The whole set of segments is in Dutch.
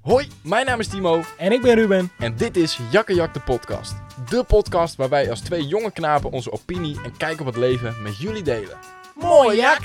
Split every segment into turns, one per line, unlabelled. Hoi, mijn naam is Timo
En ik ben Ruben.
en dit is Jakkejak de podcast. De podcast waar wij als twee jonge knapen onze opinie en kijk op het leven met jullie delen.
Mooi, Jak!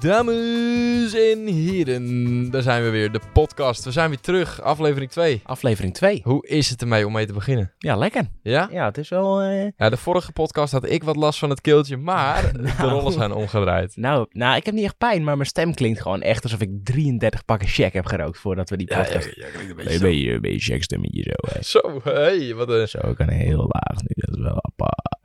Dames en heren, daar zijn we weer, de podcast. We zijn weer terug, aflevering 2.
Aflevering 2.
Hoe is het ermee om mee te beginnen?
Ja, lekker.
Ja?
Ja, het is wel... eh,
ja, de vorige podcast had ik wat last van het keeltje, maar de rollen zijn omgedraaid.
Nou, nou, ik heb niet echt pijn, maar mijn stem klinkt gewoon echt alsof ik 33 pakken check heb gerookt voordat we die podcast...
een
beetje, een beetje checkstemmetje zo. hè.
Zo, hey, wat een...
Zo, ik kan heel laag nu. Dat is wel apart.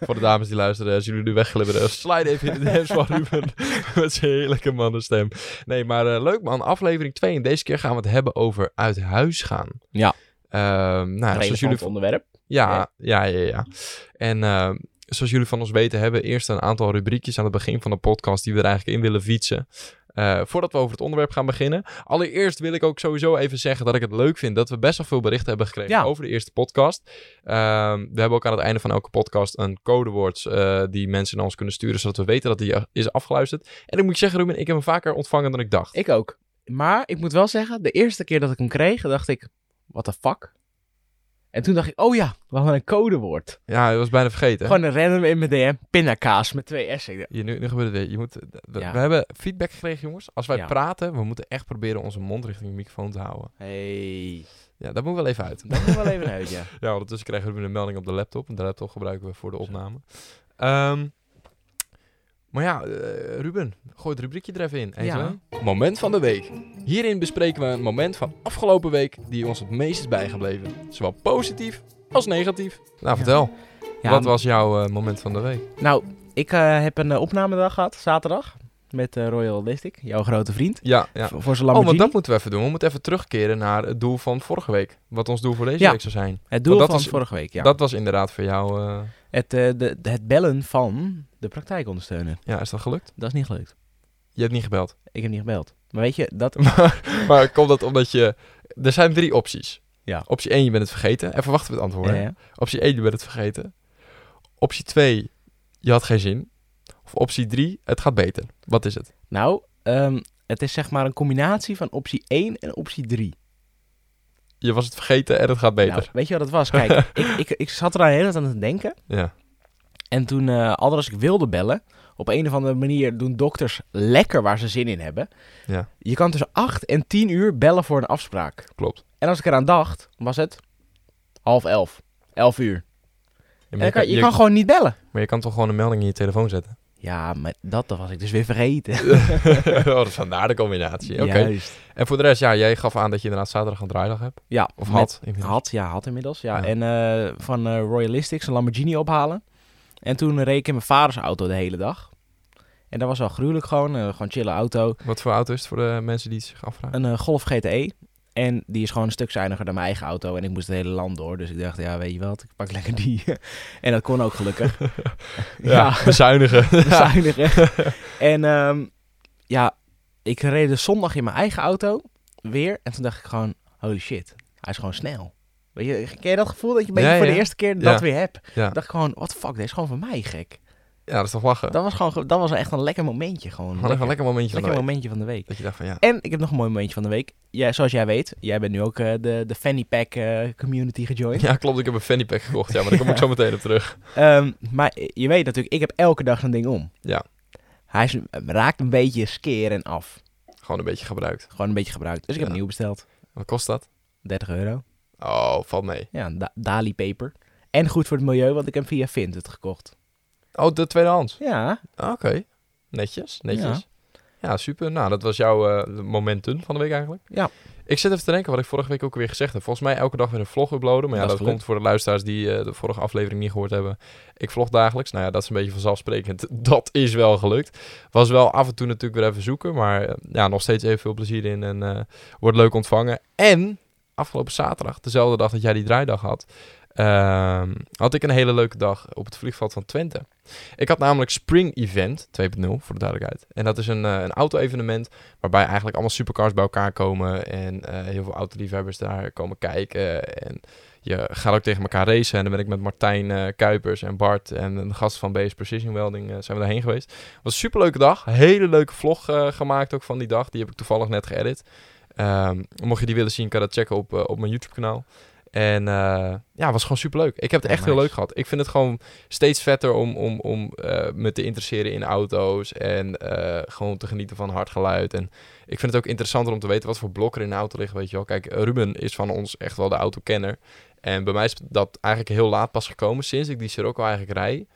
Voor de dames die luisteren, als jullie nu wegglibberen, slide even in de DM's van Ruben met zijn heerlijke mannenstem. Nee, maar eh, leuk man, aflevering 2 en deze keer gaan we het hebben over uit huis gaan.
Ja.
Ehm, nou, zoals jullie,
Relevant onderwerp.
ja, ja, ja, ja. En ehm, zoals jullie van ons weten, hebben we eerst een aantal rubriekjes aan het begin van de podcast die we er eigenlijk in willen fietsen. Eh, voordat we over het onderwerp gaan beginnen. Allereerst wil ik ook sowieso even zeggen dat ik het leuk vind dat we best wel veel berichten hebben gekregen
Ja.
over de eerste podcast. Ehm, we hebben ook aan het einde van elke podcast een codewoord eh, die mensen naar ons kunnen sturen, zodat we weten dat die eh, is afgeluisterd. En ik moet zeggen, Ruben, ik heb hem vaker ontvangen dan ik dacht.
Ik ook. Maar ik moet wel zeggen, de eerste keer dat ik hem kreeg, dacht ik, what the fuck? En toen dacht ik, oh ja, we hadden een codewoord.
Ja, dat was bijna vergeten.
Gewoon een random in mijn DM, pindakaas met twee S's. Ik dacht,
Hier, nu, nu gebeurt het weer. Je moet, we,
Ja.
we hebben feedback gekregen, jongens. Als wij
Ja.
praten, we moeten echt proberen onze mond richting de microfoon te houden.
Hey.
Ja, dat moet wel even uit.
Dat moet wel even uit, ja.
Ja, ondertussen krijgen we een melding op de laptop. En de laptop gebruiken we voor de opname. Ehm, maar ja, eh, Ruben, gooi het rubriekje er even in. Eén,
Ja.
twee. Moment van de week. Hierin bespreken we een moment van afgelopen week die ons het meest is bijgebleven. Zowel positief als negatief. Nou, vertel.
Ja,
Wat was jouw eh, moment van de week?
Nou, ik eh, heb een eh, opnamedag gehad, zaterdag, met eh, Royal Holistic, jouw grote vriend.
Ja, ja.
Voor, voor zijn
Oh, want
Lamborghini.
dat moeten we even doen. We moeten even terugkeren naar het doel van vorige week. Wat ons doel voor deze
Ja.
week zou zijn.
het doel
want dat
van
is-
vorige week, ja.
Dat was inderdaad voor jou... eh,
Het, eh, de, de- het bellen van de praktijkondersteuner.
ja, is dat gelukt?
Dat is niet gelukt.
Je hebt niet gebeld.
Ik heb niet gebeld. Maar weet je, dat...
maar, maar komt dat omdat je... Er zijn drie opties.
Ja.
Optie 1, je bent het vergeten. Even wachten met het antwoord. hè.
eh,
Optie 1, je bent het vergeten. Optie 2, je had geen zin. Of optie 3, het gaat beter. Wat is het?
nou, ehm, het is zeg maar een combinatie van optie 1 en optie 3.
Je was het vergeten en het gaat beter.
Nou, weet je wat het was? Kijk, ik, ik, ik zat er aan de hele tijd aan te denken.
Ja.
En toen, eh al als ik wilde bellen, op een of andere manier doen dokters lekker waar ze zin in hebben.
Ja.
Je kan tussen 8 en 10 uur bellen voor een afspraak.
Klopt.
En als ik eraan dacht, was het half elf. Elf uur.
Ja,
En dan kan- je, kan gewoon niet bellen.
maar je kan toch gewoon een melding in je telefoon zetten?
Ja, maar dat was ik dus weer vergeten.
oh, dat is vandaar de combinatie. Oké.
Juist.
En voor de rest, ja, jij gaf aan dat je inderdaad zaterdag een draaidag hebt.
Ja,
Of
met-
had. inmiddels.
Had, ja, had inmiddels. Ja.
Ja.
En eh, van eh, Royalistics een Lamborghini ophalen. En toen reed ik in mijn vaders auto de hele dag. En dat was wel gruwelijk gewoon. eh, gewoon chille auto.
Wat voor auto is het voor de mensen die het zich afvragen?
Een eh, Golf GTE. En die is gewoon een stuk zuiniger dan mijn eigen auto. En ik moest het hele land door. Dus ik dacht, ja, weet je wat, ik pak lekker die. en dat kon ook gelukkig.
bezuinigen. Ja.
bezuinigen. en ehm, ja, ik reed dus zondag in mijn eigen auto weer. En toen dacht ik gewoon, holy shit, hij is gewoon snel. Weet je, ken je dat gevoel dat je een beetje
Ja,
voor
ja.
de eerste keer
Ja.
dat weer hebt?
Ja.
Toen dacht ik gewoon, what the fuck, deze is gewoon van mij gek.
Ja, dat is toch lachen.
Dat was gewoon, ge- dat was echt een lekker momentje gewoon.
Gewoon even een lekker momentje van
lekker
de week.
momentje van de week.
Dat je dacht van ja.
En ik heb nog een mooi momentje van de week. Ja, zoals jij weet, jij bent nu ook eh, de, de fanny pack eh, community gejoined.
Ja, klopt. Ik heb een fanny pack gekocht. Ja, maar daar kom ik zo meteen op terug.
Ehm, maar je weet natuurlijk, ik heb elke dag zo'n ding om.
Ja.
Hij is, eh, raakt een beetje skeer en af.
Gewoon een beetje gebruikt.
Gewoon een beetje gebruikt. Dus ik heb
Ja.
nieuw besteld.
Wat kost dat?
30 euro.
Oh, valt mee.
Ja, een da- Dali paper. En goed voor het milieu, want ik heb via Vinted gekocht.
Oh, de tweedehands.
Ja,
Ah, Oké. Netjes, netjes. Ja. super. Nou, dat was jouw eh, momentum van de week eigenlijk.
Ja.
Ik zit even te denken wat ik vorige week ook weer gezegd heb. Volgens mij elke dag weer een vlog uploaden. Maar ja,
Dat
dat,
is gelukt.
komt voor de luisteraars die eh, de vorige aflevering niet gehoord hebben. Ik vlog dagelijks. Nou ja, dat is een beetje vanzelfsprekend. Dat is wel gelukt. Was wel af en toe natuurlijk weer even zoeken. Maar eh, ja, nog steeds even veel plezier in. En eh, wordt leuk ontvangen. En afgelopen zaterdag, dezelfde dag dat jij die draaidag had... ehm, had ik een hele leuke dag op het vliegveld van Twente. Ik had namelijk Spring Event 2.0, voor de duidelijkheid. En dat is een, eh, een auto-evenement waarbij eigenlijk allemaal supercars bij elkaar komen. En eh, heel veel autoliefhebbers daar komen kijken. En je gaat ook tegen elkaar racen. En dan ben ik met Martijn eh, Kuipers en Bart en een gast van BS Precision Welding eh, zijn we daarheen geweest. was een superleuke dag. Hele leuke vlog eh, gemaakt ook van die dag. Die heb ik toevallig net geëdit. Eh, Ehm, mocht je die willen zien, kan je dat checken op, eh, op mijn YouTube-kanaal. En eh, ja, was gewoon superleuk. Ik heb het
Ja,
echt heel
nice.
leuk gehad. Ik vind het gewoon steeds vetter om, om, om eh, me te interesseren in auto's. En eh, gewoon te genieten van hard geluid. En ik vind het ook interessanter om te weten wat voor blokken er in de auto liggen. Weet je wel. Kijk, Ruben is van ons echt wel de autokenner. En bij mij is dat eigenlijk heel laat pas gekomen. Sinds ik die Sirocco eigenlijk rij,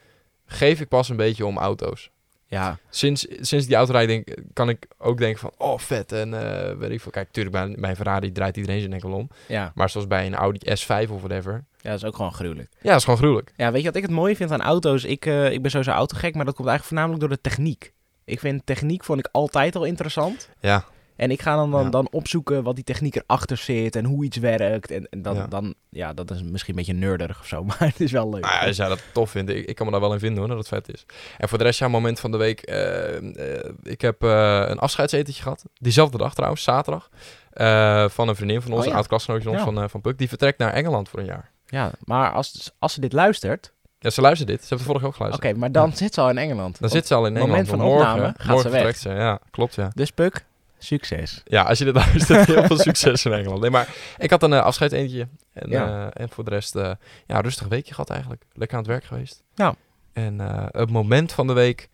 geef ik pas een beetje om auto's
Ja,
sinds, sinds die autorij denk, kan ik ook denken van, oh vet en eh weet ik veel. Kijk, tuurlijk, bij, bij een Ferrari draait iedereen zijn enkel om.
ja.
Maar zoals bij een Audi S5 of whatever.
ja, dat is ook gewoon gruwelijk.
Ja, dat is gewoon gruwelijk.
Ja, weet je wat ik het mooie vind aan auto's? Ik, eh, ik ben sowieso autogek, maar dat komt eigenlijk voornamelijk door de techniek. Ik vind techniek vond ik altijd al interessant.
Ja.
En ik ga dan, dan,
Ja.
dan opzoeken wat die techniek erachter zit en hoe iets werkt. En, en dan,
Ja.
dan, ja, dat is misschien een beetje nerderig of zo, maar het is wel leuk.
Maar Ah, Nou ja, als jij dat tof vindt, ik, ik kan me daar wel in vinden hoor, dat het vet is. En voor de rest, ja, moment van de week. eh, eh, ik heb eh, een afscheidsetentje gehad. Diezelfde dag trouwens, zaterdag. eh, van een vriendin van ons,
Oh, ja.
een oud-klasgenootje van ons,
Ja.
van, eh, van Puk. Die vertrekt naar Engeland voor een jaar.
Ja, maar als, als ze dit luistert,
Ja, ze luistert dit. Ze heeft het vorige ook
oké,
geluisterd.
maar dan zit ze al in Engeland.
Dan
Want-
zit ze al in
moment
Engeland.
van
want morgen,
opname gaat
morgen
ze weg.
vertrekt ze. Ja, klopt ja.
Dus Puk, succes.
Ja, als je dit luistert, heel veel succes in Engeland. Nee, maar ik had een eh, afscheid eentje. En,
Ja.
eh, en voor de rest, eh, ja, rustig weekje gehad eigenlijk. Lekker aan het werk geweest.
Ja.
En eh, het moment van de week,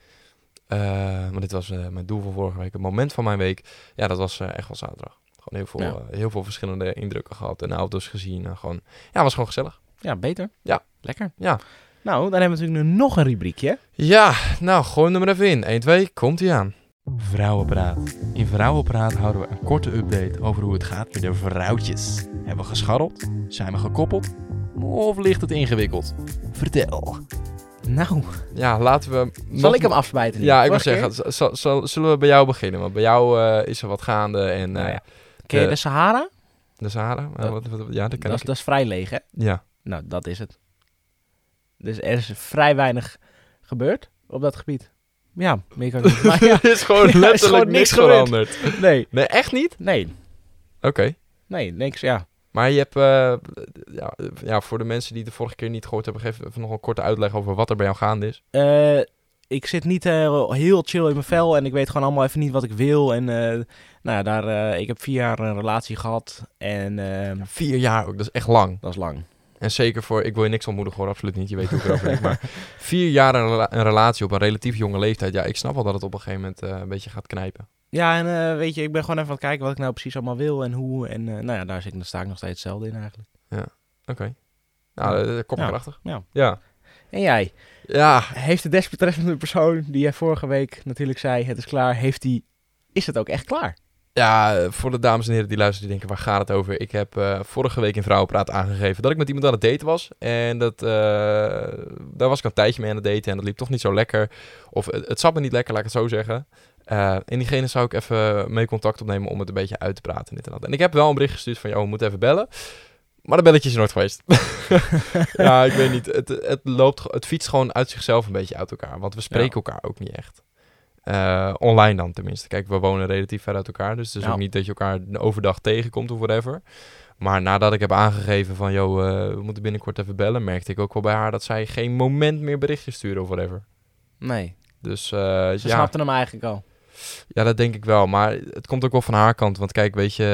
eh want dit was eh, mijn doel van vorige week. Het moment van mijn week, ja, dat was eh, echt wel zaterdag. Gewoon heel veel,
Ja.
eh, heel veel verschillende indrukken gehad en auto's gezien. En gewoon, ja, was gewoon gezellig.
Ja, beter.
Ja.
Lekker.
Ja.
Nou, dan hebben we natuurlijk nu nog een rubriekje.
Ja, nou, gooi hem er maar even in. 1, 2, komt hij aan. Vrouwenpraat. In Vrouwenpraat houden we een korte update over hoe het gaat met de vrouwtjes. Hebben we gescharreld? Zijn we gekoppeld? Of ligt het ingewikkeld? Vertel.
Nou,
Ja, laten we...
zal ik hem afsluiten? nu?
Ja, ik wil
Vorige
zeggen,
keer?
z- z- zal- zullen we bij jou beginnen? Want bij jou eh, is er wat gaande en eh,
Nou ja. Ken je
de-
de Sahara?
de Sahara. eh, wat- wat- wat- ja, dat ken
Dat is,
ik.
dat is vrij leeg, hè?
Ja.
Nou, dat is het. Dus er is vrij weinig gebeurd op dat gebied. Ja, meer kan ik niet. Maar ja,
er is gewoon
Ja, er is
letterlijk
gewoon
niks
niks gebeurd.
veranderd.
nee,
Nee, echt niet?
nee,
Oké.
nee, niks, ja.
Maar je hebt, eh, ja, eh, ja, voor de mensen die het de vorige keer niet gehoord hebben, geef even nog een korte uitleg over wat er bij jou gaande is.
Eh, ik zit niet eh, heel chill in mijn vel en ik weet gewoon allemaal even niet wat ik wil. En eh, nou ja, daar, eh, ik heb vier jaar een relatie gehad en eh,
Vier jaar ook, dat is echt lang.
dat is lang.
En zeker voor, ik wil je niks ontmoedigen hoor, absoluut niet, je weet hoe ik erover denk. Maar vier jaar een, rela- een relatie op een relatief jonge leeftijd, ja, ik snap wel dat het op een gegeven moment eh, een beetje gaat knijpen.
Ja, en eh, weet je, ik ben gewoon even aan het kijken wat ik nou precies allemaal wil en hoe. En eh, nou ja, daar, zit, ik- daar sta ik nog steeds hetzelfde in eigenlijk.
Oké. Nou,
Ja.
eh, eh, kopperkrachtig.
Ja.
Ja.
En jij?
Ja.
Heeft de desbetreffende persoon die jij vorige week natuurlijk zei het is klaar, heeft die, is het ook echt klaar?
Ja, eh, voor de dames en heren die luisteren, die denken, waar gaat het over? Ik heb eh, vorige week in Vrouwenpraat aangegeven dat ik met iemand aan het daten was. En dat, eh, daar was ik een tijdje mee aan het daten en dat liep toch niet zo lekker. Of het, het zat me niet lekker, laat ik het zo zeggen. Eh, en diegene zou ik even mee contact opnemen om het een beetje uit te praten. en Dit en, dat. en ik heb wel een bericht gestuurd van, joh, we moeten even bellen. Maar dat belletje is er nooit geweest. ja, ik weet niet. Het, het, loopt, ge- het fietst gewoon uit zichzelf een beetje uit elkaar. Want we spreken
Ja.
elkaar ook niet echt. Eh, online dan tenminste. Kijk, we wonen relatief ver uit elkaar. Dus het is
Ja.
ook niet dat je elkaar overdag tegenkomt of whatever. Maar nadat ik heb aangegeven van... joh, eh, we moeten binnenkort even bellen... merkte ik ook wel bij haar dat zij geen moment meer berichtjes sturen of whatever.
Nee,
Dus eh,
ze
ja,
snapten hem eigenlijk al.
ja, dat denk ik wel. Maar het komt ook wel van haar kant. Want kijk, weet je...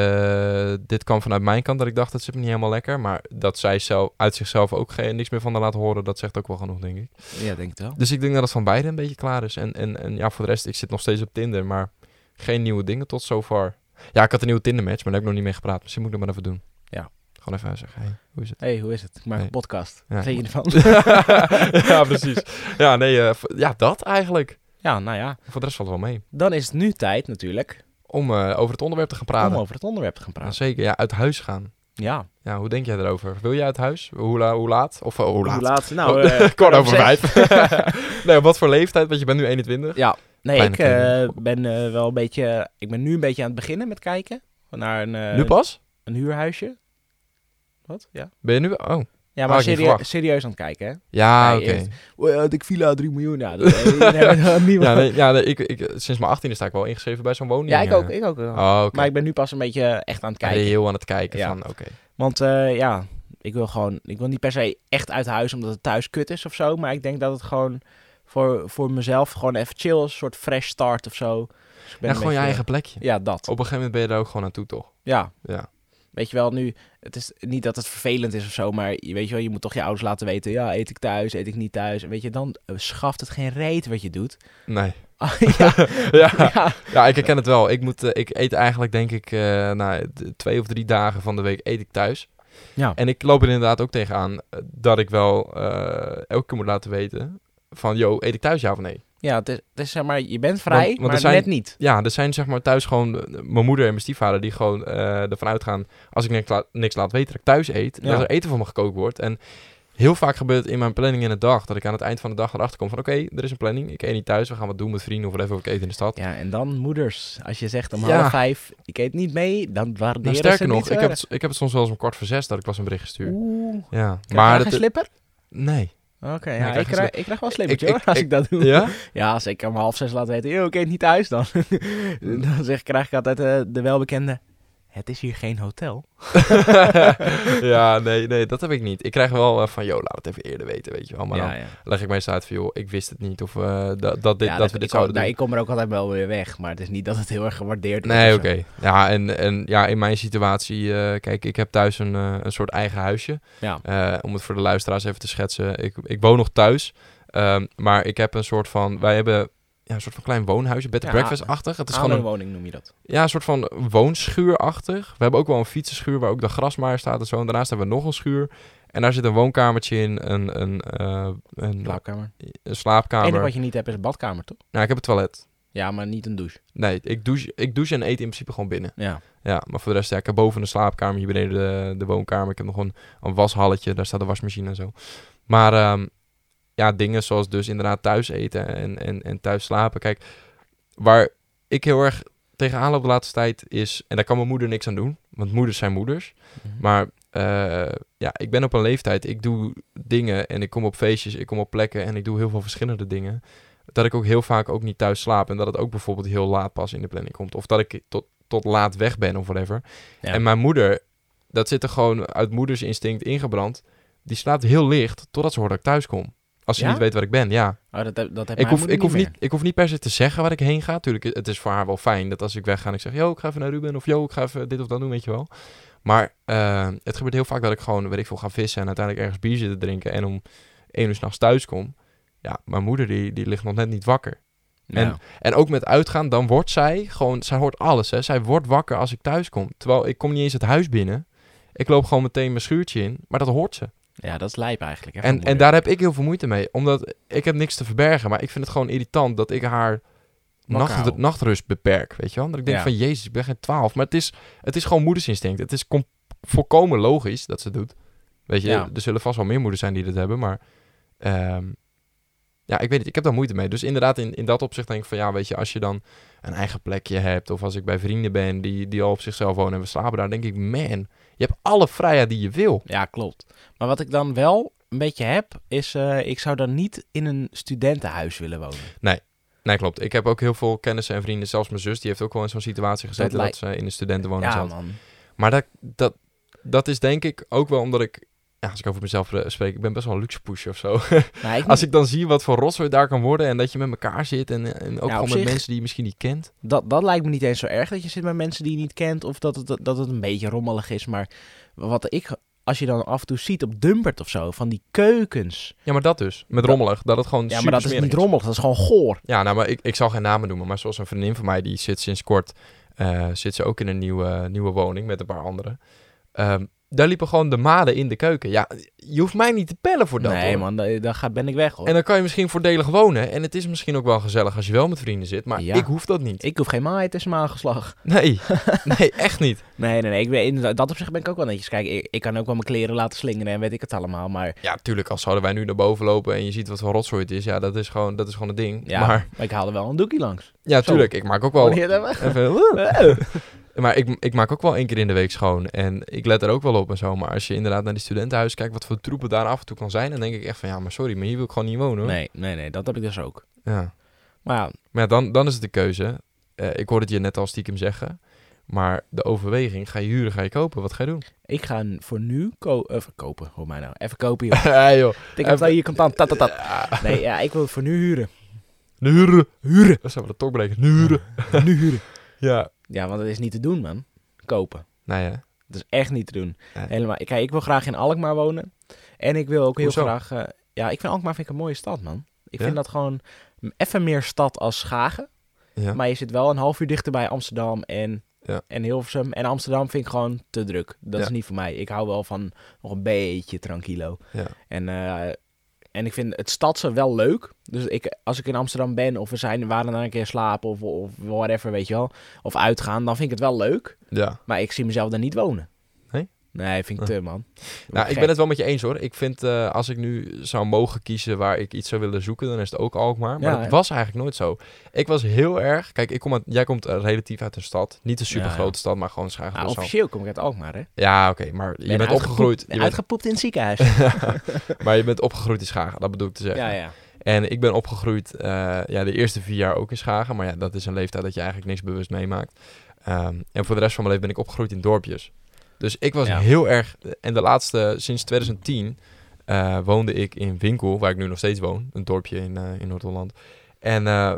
eh, dit kwam vanuit mijn kant dat ik dacht... dat zit me niet helemaal lekker. Maar dat zij zelf, uit zichzelf ook geen, niks meer van haar laat horen... dat zegt ook wel genoeg, denk ik.
Ja, denk het wel.
Dus ik denk dat het van beide een beetje klaar is. En, en, en ja, voor de rest, ik zit nog steeds op Tinder, maar geen nieuwe dingen tot zover. Ja, ik had een nieuwe Tinder-match, maar daar heb ik nog niet mee gepraat. Misschien moet ik dat maar even doen.
Ja.
Gewoon even zeggen, hey, hoe is het?
hey, hoe is het? Ik maak
Nee.
een podcast.
Ja.
Wat vind je ervan?
ja, precies. Ja, nee, eh, v- ja, dat eigenlijk.
ja, nou ja.
Voor de rest valt het wel mee.
Dan is het nu tijd natuurlijk
Om eh, over het onderwerp te gaan praten.
om over het onderwerp te gaan
Ja,
praten.
zeker, ja, uit huis gaan.
Ja.
Ja, hoe denk jij daarover? Wil je uit huis? Hoe, la- hoe laat? Of eh, hoe laat?
Nou,
Oh,
eh,
Kwart over
zes.
vijf. nee, op wat voor leeftijd? Want je bent nu 21.
Ja. Nee,
Bijna
ik
kinderen.
eh, ben eh, wel een beetje... Ik ben nu een beetje aan het beginnen met kijken naar een, eh,
nu pas?
een huurhuisje. Wat? Ja.
Ben je nu... Oh.
Ja,
Had
maar
ik niet
serie-
verwacht.
serieus aan het kijken, hè?
Ja,
Nee,
oké.
eerst- Oh, ja, had ik villa 3 miljoen. Ja, dat, eh, daar hebben we niemand-
Ja, nee, ja nee, ik, ik, sinds mijn 18e sta ik wel ingeschreven bij zo'n woning.
Ja, ik
eh.
ook. Ik ook wel.
Oh, oké.
Maar ik ben nu pas een beetje eh, echt aan het kijken.
Reëel aan het kijken
Ja.
van, oké.
Want eh, ja, ik wil gewoon... Ik wil niet per se echt uit huis omdat het thuis kut is of zo. Maar ik denk dat het gewoon voor, voor mezelf gewoon even chill is. Een soort fresh start of zo. Dus ik
En
ben
gewoon
een
je
beetje-
eigen Oh. plekje.
Ja, dat.
Op een gegeven moment ben je daar ook gewoon naartoe, toch?
Ja.
Ja.
Weet je wel, nu, het is niet dat het vervelend is of zo, maar je weet je wel, je moet toch je ouders laten weten, ja, eet ik thuis, eet ik niet thuis. En weet je, dan eh, schaft het geen reet wat je doet.
Nee.
Ah, ja,
ja.
ja.
ja, ik herken het wel. Ik, moet, eh, ik eet eigenlijk, denk ik, eh nou, d- twee of drie dagen van de week eet ik thuis.
Ja.
En ik loop er inderdaad ook tegenaan eh, dat ik wel eh, elke keer moet laten weten van, yo, eet ik thuis ja of nee?
ja het, is, het is zeg maar, je bent vrij,
want er
maar
zijn-
net niet.
Ja, er zijn zeg maar thuis gewoon eh, mijn moeder en mijn stiefvader die gewoon eh, ervan uitgaan, als ik niks, la- niks laat weten dat ik thuis eet,
Ja.
dat er eten voor me gekookt wordt. En heel vaak gebeurt het in mijn planning in de dag, dat ik aan het eind van de dag erachter kom van, oké, er is een planning, ik eet niet thuis, we gaan wat doen met vrienden of whatever, of ik eet in de stad.
Ja, en dan moeders. Als je zegt om
Ja.
half vijf, ik eet niet mee, dan waarderen
Nou,
ze
sterker
het
nog,
niet
ik heb,
erg.
het, ik heb het soms wel eens om kwart voor zes dat ik pas een bericht stuur.
Oeh,
Ja,
maar
maar
een
dat...
slipper?
Nee.
Oké,
ik
ja,
krijg
ik,
geen
krijg, ik krijg wel een slippertje
Ik-
hoor,
ik-
als
ik-
ik, dat doe.
Ja?
Ja, als ik om half zes laat weten, "Yo, ik eet niet thuis dan. dan zeg, krijg ik altijd eh, de welbekende, het is hier geen hotel.
ja, nee, nee, dat heb ik niet. Ik krijg wel eh, van, joh, laat het even eerder weten, weet je wel. Maar
ja,
dan
ja.
leg ik meestal uit van, joh, ik wist het niet of eh, dat, dat, dit,
Ja,
dat, we dit
ik kom-
zouden
nou,
doen.
ik kom er ook altijd wel weer weg, maar het is niet dat het heel erg gewaardeerd wordt.
Nee,
of
oké.
zo.
Ja, en, en ja, in mijn situatie, eh, kijk, ik heb thuis een, eh, een soort eigen huisje.
Ja.
Eh, om het voor de luisteraars even te schetsen. Ik, ik woon nog thuis, ehm, maar ik heb een soort van, wij hebben ja, een soort van klein woonhuisje, bed and
Ja,
breakfast-achtig. Het is gewoon een
Aanwoonwoning noem je dat.
Ja, een soort van woonschuurachtig. We hebben ook wel een fietsenschuur waar ook de grasmaaier staat en zo. En daarnaast hebben we nog een schuur. En daar zit een woonkamertje in, een, een, eh, een,
Slaapkamer.
een
Het
slaapkamer.
enige wat je niet hebt is een badkamer, toch?
Nou, ik heb een toilet.
Ja, maar niet een douche.
Nee, ik douche, ik douche en eet in principe gewoon binnen.
Ja.
Ja, maar voor de rest, ja, ik heb boven de slaapkamer, hier beneden de, de woonkamer. Ik heb nog een, een washalletje, daar staat de wasmachine en zo. Maar ehm, ja, dingen zoals dus inderdaad thuis eten en, en, en thuis slapen. Kijk, waar ik heel erg tegenaan loop de laatste tijd is... En daar kan mijn moeder niks aan doen, want moeders zijn moeders.
Mhm.
Maar eh, ja, ik ben op een leeftijd, ik doe dingen en ik kom op feestjes, ik kom op plekken en ik doe heel veel verschillende dingen. Dat ik ook heel vaak ook niet thuis slaap en dat het ook bijvoorbeeld heel laat pas in de planning komt. Of dat ik tot, tot laat weg ben of whatever.
Ja.
En mijn moeder, dat zit er gewoon uit moeders instinct ingebrand. Die slaapt heel licht totdat ze hoort dat ik thuis kom. Als ze
Ja?
niet weet waar ik ben, ja
Oh, dat, heb- dat heb
ik
mijn
hoef,
moeder
ik, hoef
meer.
niet, ik hoef niet per se te zeggen waar ik heen ga. Tuurlijk, het is voor haar wel fijn dat als ik wegga en ik zeg... yo, ik ga even naar Ruben of yo, ik ga even dit of dat doen, weet je wel. Maar eh, het gebeurt heel vaak dat ik gewoon, weet ik veel, ga vissen... en uiteindelijk ergens bier zit te drinken en om één uur s'nachts thuis kom. Ja, mijn moeder die, die ligt nog net niet wakker.
Ja.
En- En ook met uitgaan, dan wordt zij gewoon... Zij hoort alles, hè. Zij wordt wakker als ik thuis kom. Terwijl ik kom niet eens het huis binnen. Ik loop gewoon meteen mijn schuurtje in, maar dat hoort ze.
ja, dat is lijp eigenlijk. Hè,
En,
van
en
moeder.
daar heb ik heel veel moeite mee. Omdat ik heb niks te verbergen. Maar ik vind het gewoon irritant dat ik haar
Wakker
nacht,
houden.
nachtrust beperk. Weet je wel? Dat ik denk
Ja.
van, jezus, ik ben geen twaalf. Maar het is, het is gewoon moedersinstinct. Het is com- volkomen logisch dat ze het doet. Weet je,
Ja.
er zullen vast wel meer moeders zijn die dit hebben. Maar ehm, ja, ik weet niet. Ik heb daar moeite mee. Dus inderdaad, in, in dat opzicht denk ik van, ja, weet je, als je dan een eigen plekje hebt. Of als ik bij vrienden ben die, die al op zichzelf wonen en we slapen daar. denk ik, man, je hebt alle vrijheid die je wil.
Ja, klopt. Maar wat ik dan wel een beetje heb, is eh, ik zou dan niet in een studentenhuis willen wonen.
Nee, klopt. Ik heb ook heel veel kennissen en vrienden. Zelfs mijn zus, die heeft ook wel in zo'n situatie gezeten dat,
lijkt-
ze in een studentenwoning
ja,
zat.
man.
Maar dat, dat, dat is denk ik ook wel omdat ik... Ja, als ik over mezelf eh, spreek, ik ben best wel een luxe pusher of zo.
Nou, ik
als ik dan zie wat voor rotzooi daar kan worden en dat je met elkaar zit en, en ook
Ja, op
gewoon met
zich-
mensen die je misschien niet kent.
Dat, dat lijkt me niet eens zo erg dat je zit met mensen die je niet kent of dat het, dat het een beetje rommelig is. Maar wat ik, als je dan af en toe ziet op Dumpert of zo, van die keukens.
Ja, maar dat dus. Met
Dat-
rommelig. Dat het gewoon
Ja, maar dat is
supersmerig
niet rommelig, dat is gewoon goor.
Ja, nou, maar ik, ik zal geen namen noemen. Maar zoals een vriendin van mij, die zit sinds kort... eh, zit ze ook in een nieuwe, nieuwe woning met een paar anderen. Ehm, daar liepen gewoon de maden in de keuken. Ja, je hoeft mij niet te pellen voor dat.
nee
hoor.
man, da- daar ga, ben ik weg hoor.
En dan kan je misschien voordelig wonen. En het is misschien ook wel gezellig als je wel met vrienden zit. Maar
Ja.
ik hoef dat niet.
Ik hoef geen maai tussen mijn aangeslag.
Nee, nee, echt niet.
Nee, nee, nee. Ik ben, in dat opzicht ben ik ook wel netjes. Kijk, ik, ik kan ook wel mijn kleren laten slingeren en weet ik het allemaal. Maar
Ja, tuurlijk, als zouden wij nu naar boven lopen en je ziet wat voor rotzooi het is. Ja, dat is gewoon, dat is gewoon een ding.
ja,
Maar
ik haal er wel een doekie langs.
ja,
Zo.
tuurlijk, ik maak ook wel...
Wanneer dat-
Even- Eh. maar ik, ik maak ook wel één keer in de week schoon. En ik let er ook wel op en zo. Maar als je inderdaad naar die studentenhuis kijkt, wat voor troepen daar af en toe kan zijn. Dan denk ik echt van, ja, maar sorry, maar hier wil ik gewoon niet wonen. hoor.
Nee, nee, nee. Dat heb ik dus ook.
Ja.
Maar ja,
Maar ja, dan, dan is het de keuze. Eh, ik hoorde het je net al stiekem zeggen. Maar de overweging, ga je huren, ga je kopen? Wat ga je doen?
ik ga voor nu ko eh, kopen. Hoor mij nou. Even kopen, joh.
Ja, joh.
Ik heb
Even-
hier contant. Tat, tat, tat. Nee, ja, ik wil het voor nu huren.
Nuren.
Huren.
Dat zijn we de tokbreken. Nuren.
Nu huren.
Ja.
Ja, want dat is niet te doen, man. Kopen.
Nou ja.
Dat is echt niet te doen.
Nee.
Helemaal. Kijk, ik wil graag in Alkmaar wonen. En ik wil ook heel
Hoezo?
graag... eh, ja, ik vind Alkmaar vind ik een mooie stad, man. Ik
Ja?
vind dat gewoon even meer stad als Schagen.
Ja.
Maar je zit wel een half uur dichter bij Amsterdam en,
Ja.
en Hilversum. En Amsterdam vind ik gewoon te druk. Dat
Ja.
is niet voor mij. Ik hou wel van nog een beetje tranquilo.
Ja.
En, eh, en ik vind het stadse wel leuk. Dus ik, als ik in Amsterdam ben of we zijn, we waren daar een keer slapen of, of whatever, weet je wel. Of uitgaan, dan vind ik het wel leuk.
Ja.
Maar ik zie mezelf daar niet wonen.
Nee?
Nee, vind ik te, man.
Nou, ik
Gek.
ben het wel met je eens hoor. Ik vind, eh, als ik nu zou mogen kiezen waar ik iets zou willen zoeken, dan is het ook Alkmaar. Maar
Ja,
dat
ja.
was eigenlijk nooit zo. Ik was heel erg... Kijk, ik kom uit, jij komt eh, relatief uit een stad. Niet een super grote
Ja, ja.
stad, maar gewoon schaar.
Ah, officieel kom ik uit Alkmaar, hè?
Ja, oké. maar je
Ben
bent
uitgepoept-
opgegroeid...
ben
Je bent,
Uitgepoept in het ziekenhuis.
maar je bent opgegroeid in Schagen, dat bedoel ik te zeggen.
ja, ja.
En ik ben opgegroeid eh, ja, de eerste vier jaar ook in Schagen. Maar ja, dat is een leeftijd dat je eigenlijk niks bewust meemaakt. Ehm, en voor de rest van mijn leven ben ik opgegroeid in dorpjes. Dus ik was
Ja.
heel erg... En de laatste, sinds 2010, eh, woonde ik in Winkel, waar ik nu nog steeds woon. Een dorpje in, eh, in Noord-Holland. En eh,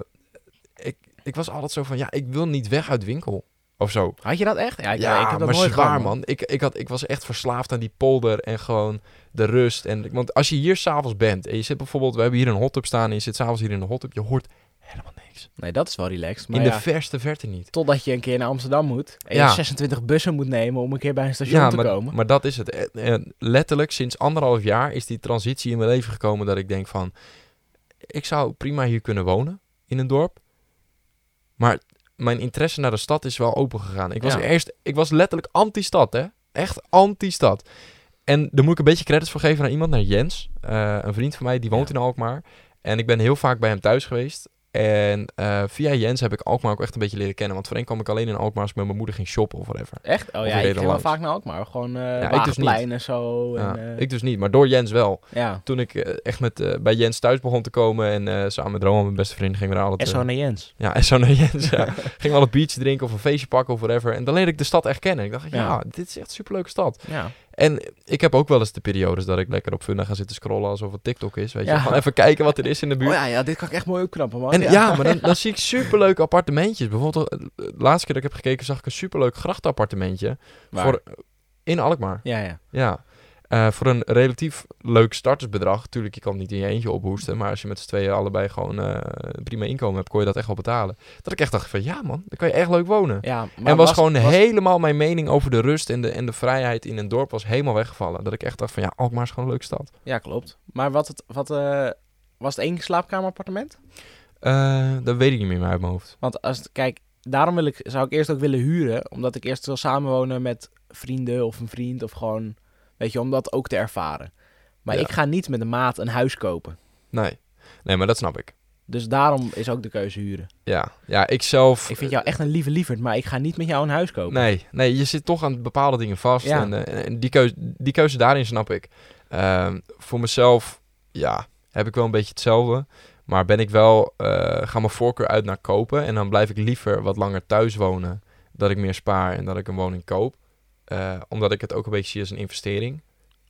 ik, ik was altijd zo van, ja, ik wil niet weg uit Winkel. Of zo.
Had je dat echt? Ja, ik,
Ja,
ik heb dat
maar
nooit
zwaar,
gehad,
man. Ik, ik, had, ik was echt verslaafd aan die polder en gewoon de rust. En, want als je hier s'avonds bent en je zit bijvoorbeeld... We hebben hier een hot tub staan en je zit s'avonds hier in de hot tub. Je hoort helemaal niks.
Nee, dat is wel relaxed. Maar
in
ja,
de verste verte niet.
totdat je een keer naar Amsterdam moet. En
Ja.
je 26 bussen moet nemen om een keer bij een station te
maar,
komen.
maar dat is het. En- en letterlijk sinds anderhalf jaar is die transitie in mijn leven gekomen... dat ik denk van... Ik zou prima hier kunnen wonen in een dorp. Maar mijn interesse naar de stad is wel open gegaan. Ik was,
Ja.
eerst, ik was letterlijk anti-stad, hè? Echt anti-stad. En daar moet ik een beetje credits voor geven aan iemand, naar Jens. Eh, een vriend van mij, die woont
Ja.
in Alkmaar. En ik ben heel vaak bij hem thuis geweest. En eh, via Jens heb ik Alkmaar ook echt een beetje leren kennen. Want voorheen kwam ik alleen in Alkmaar als ik met mijn moeder ging shoppen of whatever.
Echt? Oh
Of
ja,
reden
ik ging wel
langs.
vaak naar Alkmaar. Gewoon eh
ik dus
Wagenplein en zo. En,
Ja,
eh,
ik dus niet, maar door Jens wel.
ja.
Toen ik eh, echt met, eh, bij Jens thuis begon te komen en eh, samen met Roman, mijn beste vriend, gingen we daar altijd...
En
eh,
zo naar Jens.
Ja, en zo naar Jens. Ja. Ging wel een biertje drinken of een feestje pakken of whatever. En dan leerde ik de stad echt kennen. Ik dacht, ja,
Ja.
dit is echt een superleuke stad.
Ja.
En ik heb ook wel eens de periodes dat ik lekker op Funda ga zitten scrollen alsof het TikTok is. Weet je,
Ja.
gewoon even kijken wat er is in de
Oh
buurt.
ja, ja, dit kan ik echt mooi opknappen, man.
En ja, maar dan, dan zie ik superleuke appartementjes. Bijvoorbeeld, eh, de laatste keer dat ik heb gekeken, zag ik een superleuk grachtappartementje.
Waar?
Voor, in Alkmaar,
Ja, ja.
ja. Eh, voor een relatief leuk startersbedrag. Tuurlijk, je kan het niet in je eentje ophoesten. Maar als je met z'n tweeën allebei gewoon eh, prima inkomen hebt, kon je dat echt wel betalen. Dat ik echt dacht van, ja man, dan kan je echt leuk wonen.
ja maar
en was, gewoon helemaal mijn mening over de rust en de, en de vrijheid in een dorp was helemaal weggevallen. Dat ik echt dacht van, ja, Alkmaar is gewoon een leuke stad.
Ja, klopt. Maar wat het, wat, eh, was het één slaapkamerappartement?
Eh, dat weet ik niet meer uit mijn hoofd.
Want als het, kijk, daarom wil ik, zou ik eerst ook willen huren. Omdat ik eerst wil samenwonen met vrienden of een vriend. Of gewoon, weet je, om dat ook te ervaren. Maar
Ja.
ik ga niet met een maat een huis kopen.
Nee. Nee, maar dat snap ik.
Dus daarom is ook de keuze huren.
Ja, ja ik zelf...
Ik vind jou echt een lieve lieverd, maar ik ga niet met jou een huis kopen.
Nee, nee, je zit toch aan bepaalde dingen vast.
Ja.
En, eh, en die, keuze, die keuze daarin snap ik. Ehm, voor mezelf, ja, heb ik wel een beetje hetzelfde. Maar ben ik wel, eh ga mijn voorkeur uit naar kopen. En dan blijf ik liever wat langer thuis wonen. Dat ik meer spaar en dat ik een woning koop. Eh, omdat ik het ook een beetje zie als een investering.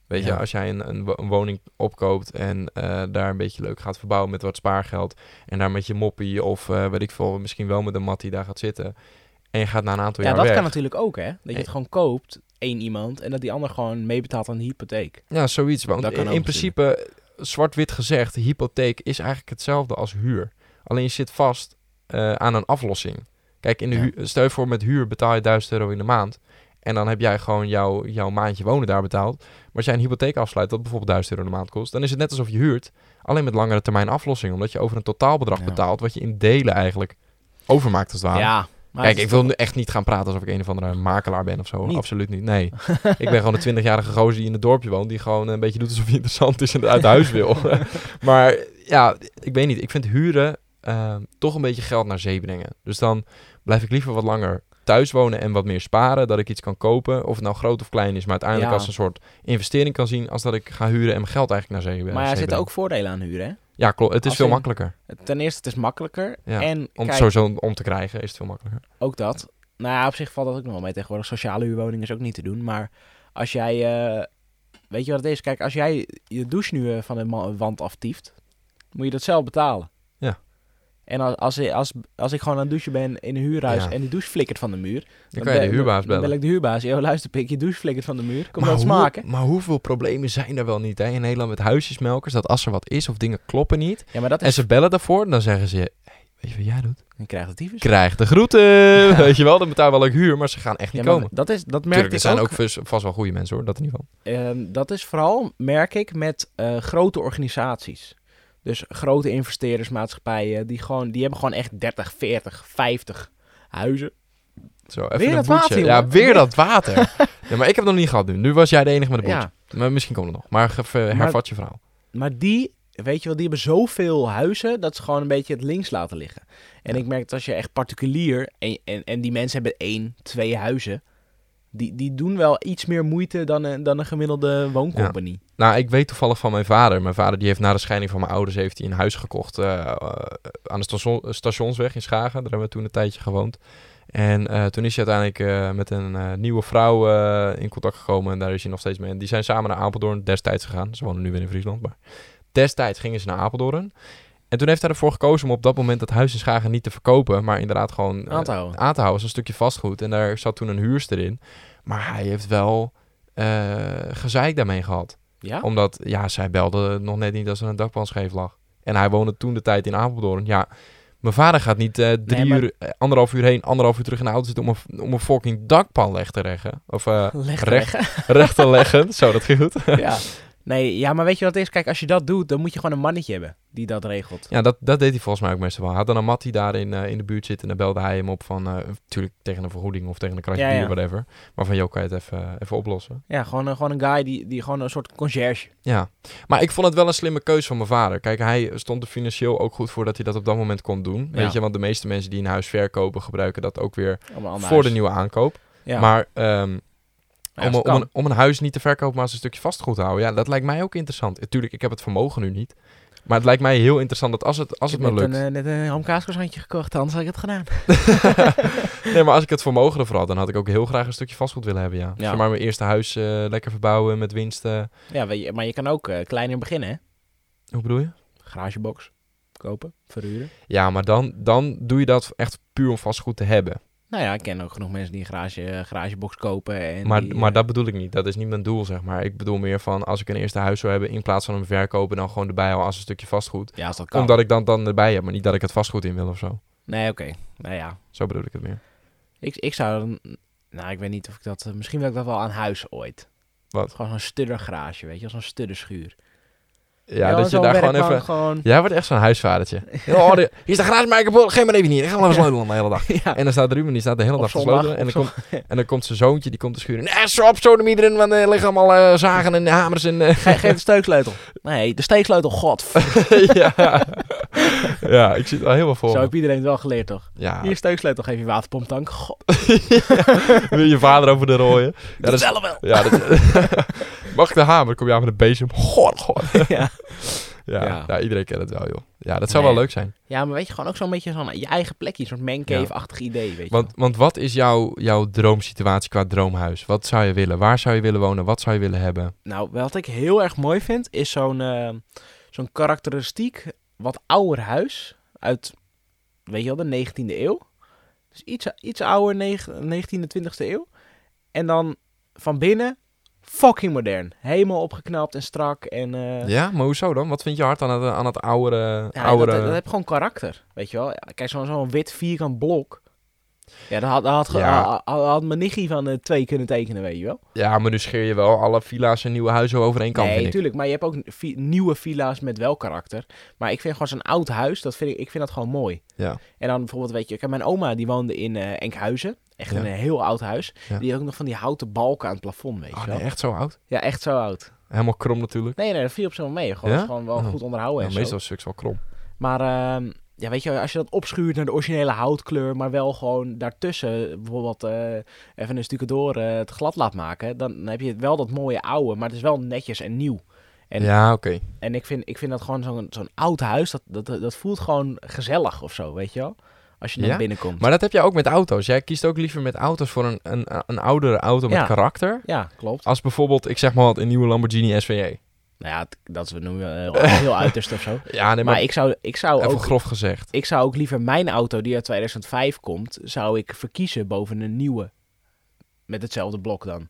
Weet
Ja.
je, als jij een, een, wo- een woning opkoopt en eh, daar een beetje leuk gaat verbouwen met wat spaargeld. En daar met je moppie of eh, weet ik veel, misschien wel met een mattie daar gaat zitten. En je gaat na een aantal
ja,
jaar
dat
weg.
kan natuurlijk ook, hè? Dat je het
Eh.
gewoon koopt, één iemand, en dat die ander gewoon meebetaalt aan de hypotheek.
Ja, zoiets. Want
Dat kan
in,
ook
in principe, zwart-wit gezegd, hypotheek is eigenlijk hetzelfde als huur. Alleen je zit vast eh, aan een aflossing. Kijk, in de
Ja.
hu- stel je voor met huur betaal je 1000 euro in de maand. En dan heb jij gewoon jouw, jouw maandje wonen daar betaald. Maar als jij een hypotheek afsluit, dat bijvoorbeeld 1000 euro in de maand kost, dan is het net alsof je huurt. Alleen met langere termijn aflossing. Omdat je over een totaalbedrag
Ja.
betaalt, wat je in delen eigenlijk overmaakt als het ware.
Ja, maar
Kijk,
het
ik
is
wil nu echt niet gaan praten alsof ik een of andere makelaar ben of zo.
Niet?
Absoluut niet. Nee. ik ben gewoon een 20-jarige gozer die in het dorpje woont. Die gewoon een beetje doet alsof hij interessant is en uit huis wil. maar ja, ik weet niet. Ik vind huren eh, toch een beetje geld naar zee brengen. Dus dan blijf ik liever wat langer thuis wonen en wat meer sparen. Dat ik iets kan kopen. Of het nou groot of klein is. Maar uiteindelijk
Ja.
als een soort investering kan zien. Als dat ik ga huren en mijn geld eigenlijk naar zee
toch-
breng.
Maar er
zee
zitten
breng.
ook voordelen aan huren, hè?
Ja, klopt. Het is
als
veel
in-
makkelijker.
Ten eerste, het is makkelijker.
Ja,
en
Om
kijk,
het sowieso om te krijgen is het veel makkelijker.
ook dat. Nou ja, op zich valt dat ook nog wel mee tegenwoordig. Sociale huurwoning is ook niet te doen. Maar als jij... eh, weet je wat het is? Kijk, als jij je douche nu eh, van de ma- wand aftieft, moet je dat zelf betalen.
Ja.
En als, als, als, als ik gewoon aan het douchen ben in een huurhuis
Ja.
en die douche flikkert van de muur...
Dan kan je de
ben-
huurbaas
Dan
bellen.
bel ik de huurbaas. Yo, luister pik, je douche flikkert van de muur. Kom
maar,
dat smaken.
Hoe, maar hoeveel problemen zijn er wel niet hè? in Nederland met huisjesmelkers? Dat als er wat is of dingen kloppen niet.
Ja, maar dat
En
is...
ze bellen daarvoor en dan zeggen ze... "Hey, weet je wat jij doet?
Dan krijgt het tyfus.
Krijg de groeten! Weet je wel, dan betaal wel ook huur, maar ze gaan echt
Ja,
niet
maar
komen.
dat, is, dat merk
Tuurlijk,
ik
er zijn ook,
ook.
vast, vast wel goede mensen hoor, dat in ieder geval.
Ehm, dat is vooral, merk ik, met eh, grote organisaties. Dus grote investeerdersmaatschappijen, die, gewoon, die hebben gewoon echt 30, 40, 50 huizen.
Zo, even
Weer
een
dat
boetje.
water,
Ja,
jongen.
weer dat water. ja, maar ik heb het nog niet gehad nu. Nu was jij de enige met een boetje.
Ja,
Maar misschien komt het nog. Maar ge- ver-
Maar-
hervat je verhaal.
maar die, weet je wel, die hebben zoveel huizen dat ze gewoon een beetje het links laten liggen. En ik merk dat als je echt particulier, en, en, en die mensen hebben één, twee huizen, die, die doen wel iets meer moeite dan een, dan een gemiddelde wooncompagnie.
Nou, ik weet toevallig van mijn vader. Mijn vader die heeft na de scheiding van mijn ouders heeft hij een huis gekocht eh, eh, aan de station- stationsweg in Schagen. Daar hebben we toen een tijdje gewoond. En eh, toen is hij uiteindelijk eh, met een eh, nieuwe vrouw eh, in contact gekomen. En daar is hij nog steeds mee. En die zijn samen naar Apeldoorn destijds gegaan. Ze wonen nu weer in Friesland. Maar destijds gingen ze naar Apeldoorn. En toen heeft hij ervoor gekozen om op dat moment dat huis in Schagen niet te verkopen. Maar inderdaad gewoon eh,
Aan te houden.
aan te houden als een stukje vastgoed. En daar zat toen een huurster in. Maar hij heeft wel eh gezeik daarmee gehad.
Ja?
Omdat, ja, zij belde nog net niet dat ze een dakpan scheef lag. En hij woonde toen de tijd in Apeldoorn. Ja, mijn vader gaat niet eh, drie
Nee, maar-
uur, eh, anderhalf uur heen, anderhalf uur terug in de auto zitten om een, om een fucking dakpan leg te leggen. Of eh,
Leg
recht, recht te leggen. Zo, dat ging goed.
ja. Nee, ja, maar weet je wat het is? Kijk, als je dat doet, dan moet je gewoon een mannetje hebben die dat regelt.
Ja, dat, dat deed hij volgens mij ook meestal wel. Hij had dan een mat die daar in, eh, in de buurt zit en dan belde hij hem op van, natuurlijk tegen een vergoeding of tegen een kratje
Ja,
bier,
ja.
whatever. Maar van, joh, kan je het even, eh, even oplossen?
Ja, gewoon, een- gewoon een guy die, die gewoon een soort conciërge.
Ja, maar ik vond het wel een slimme keuze van mijn vader. Kijk, hij stond er financieel ook goed voor dat hij dat op dat moment kon doen.
Ja.
Weet je, want de meeste mensen die een huis verkopen gebruiken dat ook weer
om een ander
voor
huis.
de nieuwe aankoop.
Ja.
Maar ehm,
Ja,
om,
dat
om,
kan.
een, om een huis niet te verkopen, maar als een stukje vastgoed te houden, ja, dat lijkt mij ook interessant. Natuurlijk, ik heb het vermogen nu niet. Maar het lijkt mij heel interessant dat als het, als
Ik
het
heb
me lukt.
Net een, eh, net een hamkaaskozantje gekocht, anders had ik het gedaan. eh,
nee, maar als ik het vermogen ervoor had, dan had ik ook heel graag een stukje vastgoed willen hebben. Ja.
Ja.
Zeg maar mijn eerste huis eh, lekker verbouwen met winsten.
Ja, weet je, maar je kan ook eh, kleiner beginnen, hè?
Hoe bedoel je?
Garagebox kopen, verhuren.
Ja, maar dan, dan doe je dat echt puur om vastgoed te hebben.
Nou ja, ik ken ook genoeg mensen die een garage, eh, garagebox kopen. En
Maar,
die,
maar
eh,
dat bedoel ik niet. Dat is niet mijn doel, zeg maar. Ik bedoel meer van als ik een eerste huis zou hebben, in plaats van hem verkopen, dan gewoon erbij al als een stukje vastgoed.
Ja, als dat kan.
Omdat ik dan, dan erbij heb, maar niet dat ik het vastgoed in wil of zo.
Nee, oké. Nou ja,
Zo bedoel ik het meer.
ik, ik zou dan... Nou, ik weet niet of ik dat... Misschien wil ik dat wel aan huis ooit.
Wat?
Gewoon zo'n studdergarage, weet je? Zo'n studderschuur.
Ja,
Ja,
dat je
zo'n
daar gewoon
werkbank
even.
gewoon...
Jij wordt echt zo'n huisvadertje. Oh, de- hier is de garage, maar ik heb- geef maar even niet. Ik ga wel even sleutelen de hele dag.
Ja.
En dan staat Ruben, die staat de hele
Op
dag te
zondag,
sleutelen. En,
op
dan komt- en dan komt zijn zoontje, die komt te schuren. Nee, zo op, zo de iedereen, want er liggen allemaal eh, zagen en hamers en... eh,
Ge- geef de steeksleutel. Nee, de steeksleutel, god.
ja. ja, ik zie het al helemaal voor
Zo
me.
heb iedereen het wel geleerd, toch?
Ja,
Hier, steeksleutel, geef je waterpomptank. God,
wil je vader over de rooien.
dat
dat is-
is wel wel.
Ja, dat- Mag ik de hamer? Kom jij met een bezem? God, god.
Ja.
Ja, ja.
Ja.
iedereen kent het wel, joh. Ja, dat zou wel
Nee.
leuk zijn.
ja, maar weet je, gewoon ook zo'n beetje zo'n je eigen plekje. Een soort mancave-achtig idee, weet je
Want, want wat is jouw, jouw droomsituatie qua droomhuis? Wat zou je willen? Waar zou je willen wonen? Wat zou je willen hebben?
wel. Nou, wat ik heel erg mooi vind, is zo'n eh, zo'n karakteristiek wat ouder huis uit, weet je wel, de 19e eeuw. Dus iets, iets ouder, negen- 19e, 20e eeuw. En dan van binnen, fucking modern. Helemaal opgeknapt en strak en... eh,
ja, maar hoezo dan? Wat vind je hard aan het, aan het oudere...
Ja,
oudere...
dat, dat heeft gewoon karakter, weet je wel. Ja, Kijk, zo'n zo'n wit vierkant blok. Ja, dat had, dat had, ge-
Ja.
had, had- had mijn nichtje van eh, twee kunnen tekenen, weet je wel.
ja, maar nu scheer je wel alle villa's en nieuwe huizen over één kant,
nee,
vind ik.
natuurlijk, maar je hebt ook vi- nieuwe villa's met wel karakter. Maar ik vind gewoon zo'n oud huis, dat vind ik, ik vind dat gewoon mooi.
Ja.
En dan bijvoorbeeld, weet je, kijk, mijn oma die woonde in eh, Enkhuizen. Echt
Ja.
een eh, heel oud huis.
Ja.
Die had ook nog van die houten balken aan het plafond, weet
Oh,
je
nee,
wel.
echt zo oud?
Ja, echt zo oud.
Helemaal krom natuurlijk.
Nee, nee, dat viel op zo'n mee. Gewoon,
Ja?
dat is gewoon wel
Oh.
goed onderhouden
Ja,
en zo.
meestal is stuks wel krom.
Maar ehm, ja, weet je, als je dat opschuurt naar de originele houtkleur, maar wel gewoon daartussen bijvoorbeeld eh, even een stukje door eh, het glad laat maken, dan heb je wel dat mooie oude, maar het is wel netjes en nieuw. En-
Ja, oké.
En ik vind, ik vind dat gewoon zo'n zo'n oud huis, dat, dat, dat voelt gewoon gezellig of zo, weet je wel? Als je naar
Ja?
binnenkomt.
Maar dat heb jij ook met auto's. Jij kiest ook liever met auto's voor een, een, een oudere auto met
Ja.
karakter.
Ja, klopt.
Ah. Als bijvoorbeeld, ik zeg maar wat, een nieuwe Lamborghini E. SVJ.
Nou ja, het- dat is we noemen eh, heel uiterst of zo.
Ja, nee, maar,
Maar ik zou, ik zou
even
ook
grof gezegd.
ik zou ook liever mijn auto die uit 2005 komt, zou ik verkiezen boven een nieuwe. Met hetzelfde blok dan.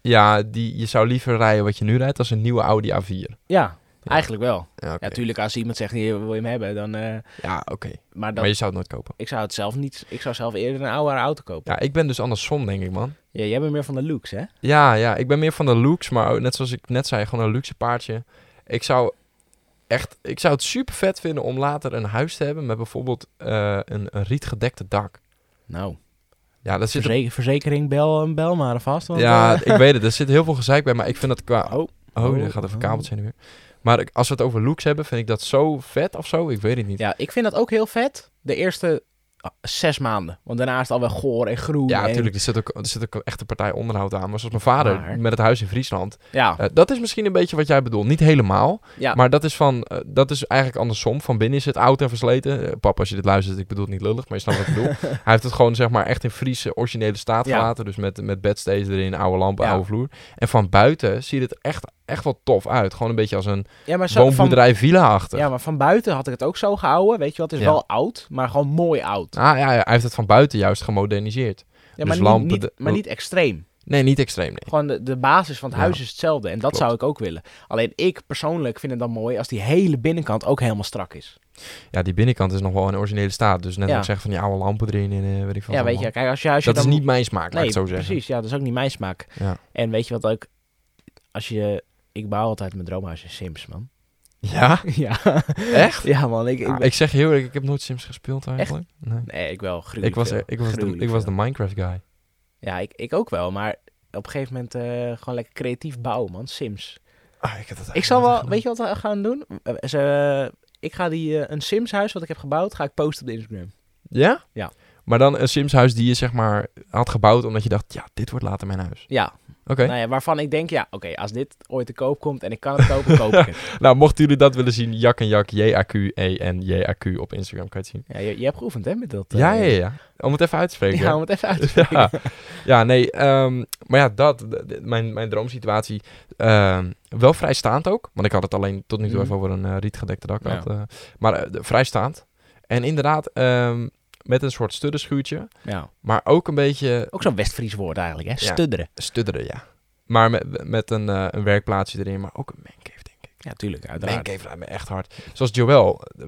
Ja, die, je zou liever rijden wat je nu rijdt als een nieuwe Audi A4.
Ja, eigenlijk wel.
Ja, oké.
Ja, tuurlijk, als iemand zegt, hier wil je hem hebben, dan... eh,
Ja, oké.
maar dan,
Maar je zou het nooit kopen.
ik zou het zelf niet... Ik zou zelf eerder een oude auto kopen.
Ja, ik ben dus andersom, denk ik, man.
Ja, jij bent meer van de looks, hè?
Ja, ja, ik ben meer van de looks, maar ook net zoals ik net zei, gewoon een luxe paardje. Ik zou echt, ik zou het super vet vinden om later een huis te hebben met bijvoorbeeld eh, een, een rietgedekte dak.
Nou,
Ja, daar zit
verze- verzekering, bel, bel maar vast. Want,
ja,
eh,
ik weet het, er zit heel veel gezeik bij, maar ik vind dat qua...
Oh.
Oh,
Oh,
er gaat even
oh.
kabeltje in weer. Maar ik- als we het over looks hebben, vind ik dat zo vet of zo, ik weet het niet. Ja,
ja, ik vind dat ook heel vet. De eerste ah, zes maanden. Want daarna is het alweer goor en groen. en-
natuurlijk, er zit, ook, er zit ook een echte partij onderhoud aan. Maar zoals mijn vader
Maar-
met het huis in Friesland,
Ja,
eh, dat is misschien een beetje wat jij bedoelt. Niet helemaal,
ja.
Maar dat is, van, eh, dat is eigenlijk andersom. Van binnen is het oud en versleten. Eh, papa, als je dit luistert, ik bedoel het niet lullig, maar je snapt wat ik bedoel. Hij heeft het gewoon zeg maar echt in Friese originele staat
Ja.
gelaten. Dus met, met bedsteeds erin, oude lampen,
Ja.
oude vloer. En van buiten ziet het echt, echt wel tof uit. Gewoon een beetje als een
ja, maar zo, van,
woonboerderij villa-achtig.
ja, maar van buiten had ik het ook zo gehouden. Weet je wat, het is
Ja.
wel oud, maar gewoon mooi oud.
Ah, ja, ja, hij heeft het van buiten juist gemoderniseerd. Dus
Ja, maar,
lampen,
niet,
de-
niet, maar niet extreem.
Nee, niet extreem, nee.
Gewoon de, de basis van het
Ja.
huis is hetzelfde. En dat
Klopt.
zou ik ook willen. Alleen ik persoonlijk vind het dan mooi als die hele binnenkant ook helemaal strak is.
Ja, die binnenkant is nog wel in originele staat. Dus net
Ja.
als ik zeg van die oude lampen erin en eh, weet ik veel.
ja,
wat
weet je,
allemaal.
kijk, als je, als je
Dat
dan...
is niet mijn smaak, laat
Nee,
ik het zo zeggen.
precies. Ja, dat is ook niet mijn smaak.
Ja.
En weet je wat ook... Als je... Ik bouw altijd mijn droomhuis in Sims, man.
Ja?
ja.
Echt?
Ja, man. Ik, ik
Ja,
ben-
ik zeg heel eerlijk, ik heb nooit Sims gespeeld eigenlijk. Nee.
Nee, ik wel. gruwelijk
Ik was,
veel.
ik, was de,
Gruwelijk
ik was de
veel.
Minecraft guy.
Ja, ik, ik ook wel. Maar op een gegeven moment eh, gewoon lekker creatief bouwen, man. Sims.
Ah, ik, heb dat
Ik zal wel... Weet je wat we gaan doen? Eh, ze- ik ga die... eh, een Sims huis wat ik heb gebouwd, ga ik posten op de Instagram.
Ja?
Ja.
Maar dan een Sims-huis die je zeg maar had gebouwd omdat je dacht, ja, dit wordt later mijn huis.
Ja,
Oké.
Nou ja, waarvan ik denk, ja, oké, als dit ooit te koop komt en ik kan het kopen, koop ik het.
Nou, mochten jullie dat willen zien, Jak en Jak, E J-A-Q-E-N-J-A-Q op Instagram, kan je het zien.
Ja, je, je hebt geoefend, hè, met dat. eh,
Ja, ja, ja. Om het even uit te spreken.
Ja, om het even uit te spreken.
ja. ja, nee. ehm, maar ja, dat. d- d- Mijn, mijn droomsituatie. ehm, wel vrijstaand ook. Want ik had het alleen tot nu toe
Mhm.
even over een eh, rietgedekte dak.
Ja.
gehad, eh, maar eh, de- vrijstaand. En inderdaad, ehm, met een soort studderschuurtje.
Ja.
Maar ook een beetje
Ook zo'n Westfries woord eigenlijk, hè?
Ja.
Studderen.
studderen, ja. Maar met, met een, eh, een werkplaatsje erin. Maar ook een mancave, denk ik.
Ja, tuurlijk, uiteraard.
Mancave rijdt me echt hard. Zoals Joël. eh,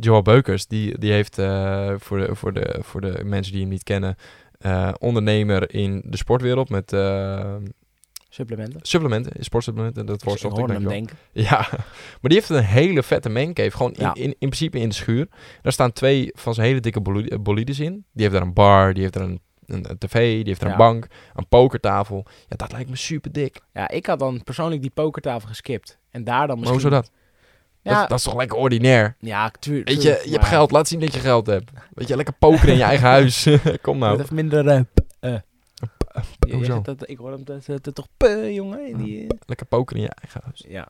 Joël Beukers, die, die heeft eh, voor, de, voor, de, voor de mensen die hem niet kennen... eh, ondernemer in de sportwereld met... eh,
Supplementen.
Supplementen, sportsupplementen, dat wordt
ik
zocht ik,
hoorde hem
dankjewel.
denken.
Ja, maar die heeft een hele vette mancave, gewoon in,
Ja.
in, in principe in de schuur. Daar staan twee van zijn hele dikke boli- eh, bolides in. Die heeft daar een bar, die heeft daar een, een, een tv, die heeft daar
Ja.
een bank, een pokertafel. Ja, dat lijkt me super dik.
Ja, ik had dan persoonlijk die pokertafel geskipt. En daar
Maar
dan misschien...
hoezo dat?
Ja,
dat? Dat is toch lekker ordinair?
ja tuurlijk.
Weet je, je hebt geld, laat zien dat je geld hebt. Weet je, lekker poker in je eigen huis. Kom nou.
Even minder... eh, p- eh. Je- je
hoezo?
zegt dat, ik hoor hem dat, dat- dat toch... p- jongen. in Die, eh.
Lekker poker in je eigen huis.
Ja.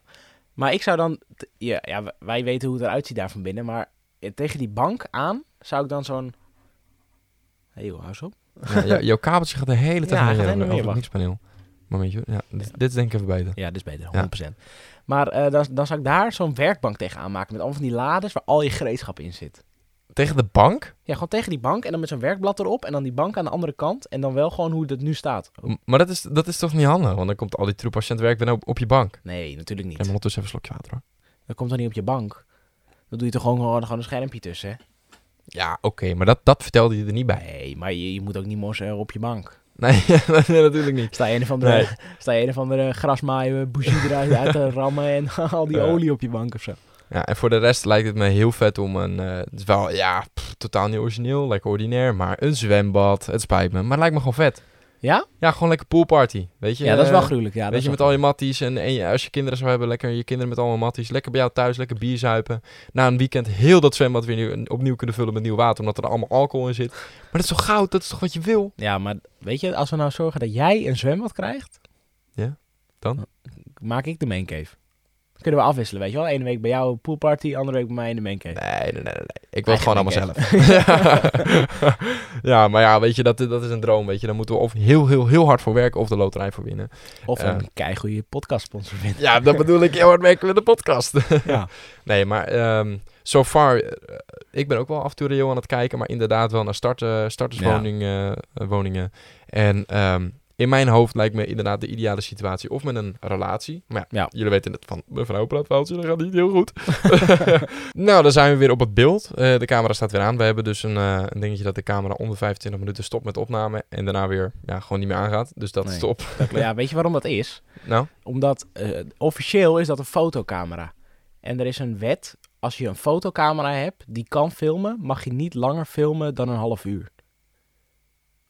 Maar ik zou dan... t- Ja, ja, w- wij weten hoe het eruit ziet daar van binnen. Maar eh, tegen die bank aan zou ik dan zo'n... Hé, hey, joh, hou eens op.
Ja, jou- jouw kabeltje gaat de hele
Ja,
tijd heen
hij gaat
en
heen en
weer over het
weer,
mixpaneel. Momentje, ja, dit, dit is denk ik even beter.
Ja, dit is beter,
Ja.
100%. Maar eh, dan, dan zou ik daar zo'n werkbank tegen aanmaken. Met allemaal van die lades waar al je gereedschap in zit.
Tegen de bank?
Ja, gewoon tegen die bank en dan met zo'n werkblad erop. En dan die bank aan de andere kant. En dan wel gewoon hoe dat nu staat. Oh,
M- Maar dat is, dat is toch niet handig? Want dan komt al die troep als je aan het werk bent op, op je bank. Ik
nee, natuurlijk niet.
neem ondertussen even een slokje water hoor.
Dat komt dan niet op je bank. Dan doe je toch gewoon, gewoon, gewoon een schermpje tussen. hè?
Ja, oké, maar dat, dat vertelde je er niet bij.
Nee, maar je, je moet ook niet morsen eh, op je bank.
Nee, nee, natuurlijk niet.
Sta je een of andere,
Nee.
sta je een of andere grasmaaien, bougie eruit uit te rammen. En al die
Ja.
olie op je bank of zo.
Ja, en voor de rest lijkt het me heel vet om een... eh, het is wel, ja, pff, totaal niet origineel, lekker ordinair. Maar een zwembad, het spijt me. Maar het lijkt me gewoon vet.
Ja?
Ja, gewoon lekker poolparty, weet je.
Ja, dat is wel
Eh,
gruwelijk. Ja, dat
Weet
is
je, met
wel
al je matties en, en je- als je kinderen zou hebben, lekker je kinderen met allemaal matties. Lekker bij jou thuis, lekker bier zuipen. Na een weekend heel dat zwembad weer nieuw- opnieuw kunnen vullen met nieuw water, omdat er allemaal alcohol in zit. Maar dat is toch goud, dat is toch wat je wil?
Ja, maar weet je, als we nou zorgen dat jij een zwembad krijgt...
Ja, dan?
Maak ik de maincave. Kunnen we afwisselen, weet je wel. Ene week bij jou poolparty, andere week bij mij in de mancave.
Nee, nee, nee, nee. nee. Ik wil het gewoon allemaal
Eigen
zelf. ja, maar ja, weet je, dat, dat is een droom, weet je. Daar moeten we of heel, heel, heel hard voor werken of de loterij voor winnen.
Of
Ja.
een keigoede podcastsponsor vinden.
Ja, dat bedoel ik heel hard werken met de podcast.
Ja.
nee, maar ehm so far, eh, ik ben ook wel af en toe reëel aan het kijken, maar inderdaad wel naar start, eh, starterswoningen. eh, woningen. En ehm, in mijn hoofd lijkt me inderdaad de ideale situatie of met een relatie. Maar ja,
Ja.
jullie weten het van mevrouw Plaatveldje, dat gaat niet heel goed. nou, dan zijn we weer op het beeld. Eh, de camera staat weer aan. We hebben dus een, eh, een dingetje dat de camera onder 25 minuten stopt met opname en daarna weer ja, gewoon niet meer aangaat. Dus dat
Nee.
is top.
Dat- ja, weet je waarom dat is?
Nou,
Omdat eh, officieel is dat een fotocamera. En er is een wet. Als je een fotocamera hebt die kan filmen, mag je niet langer filmen dan een half uur.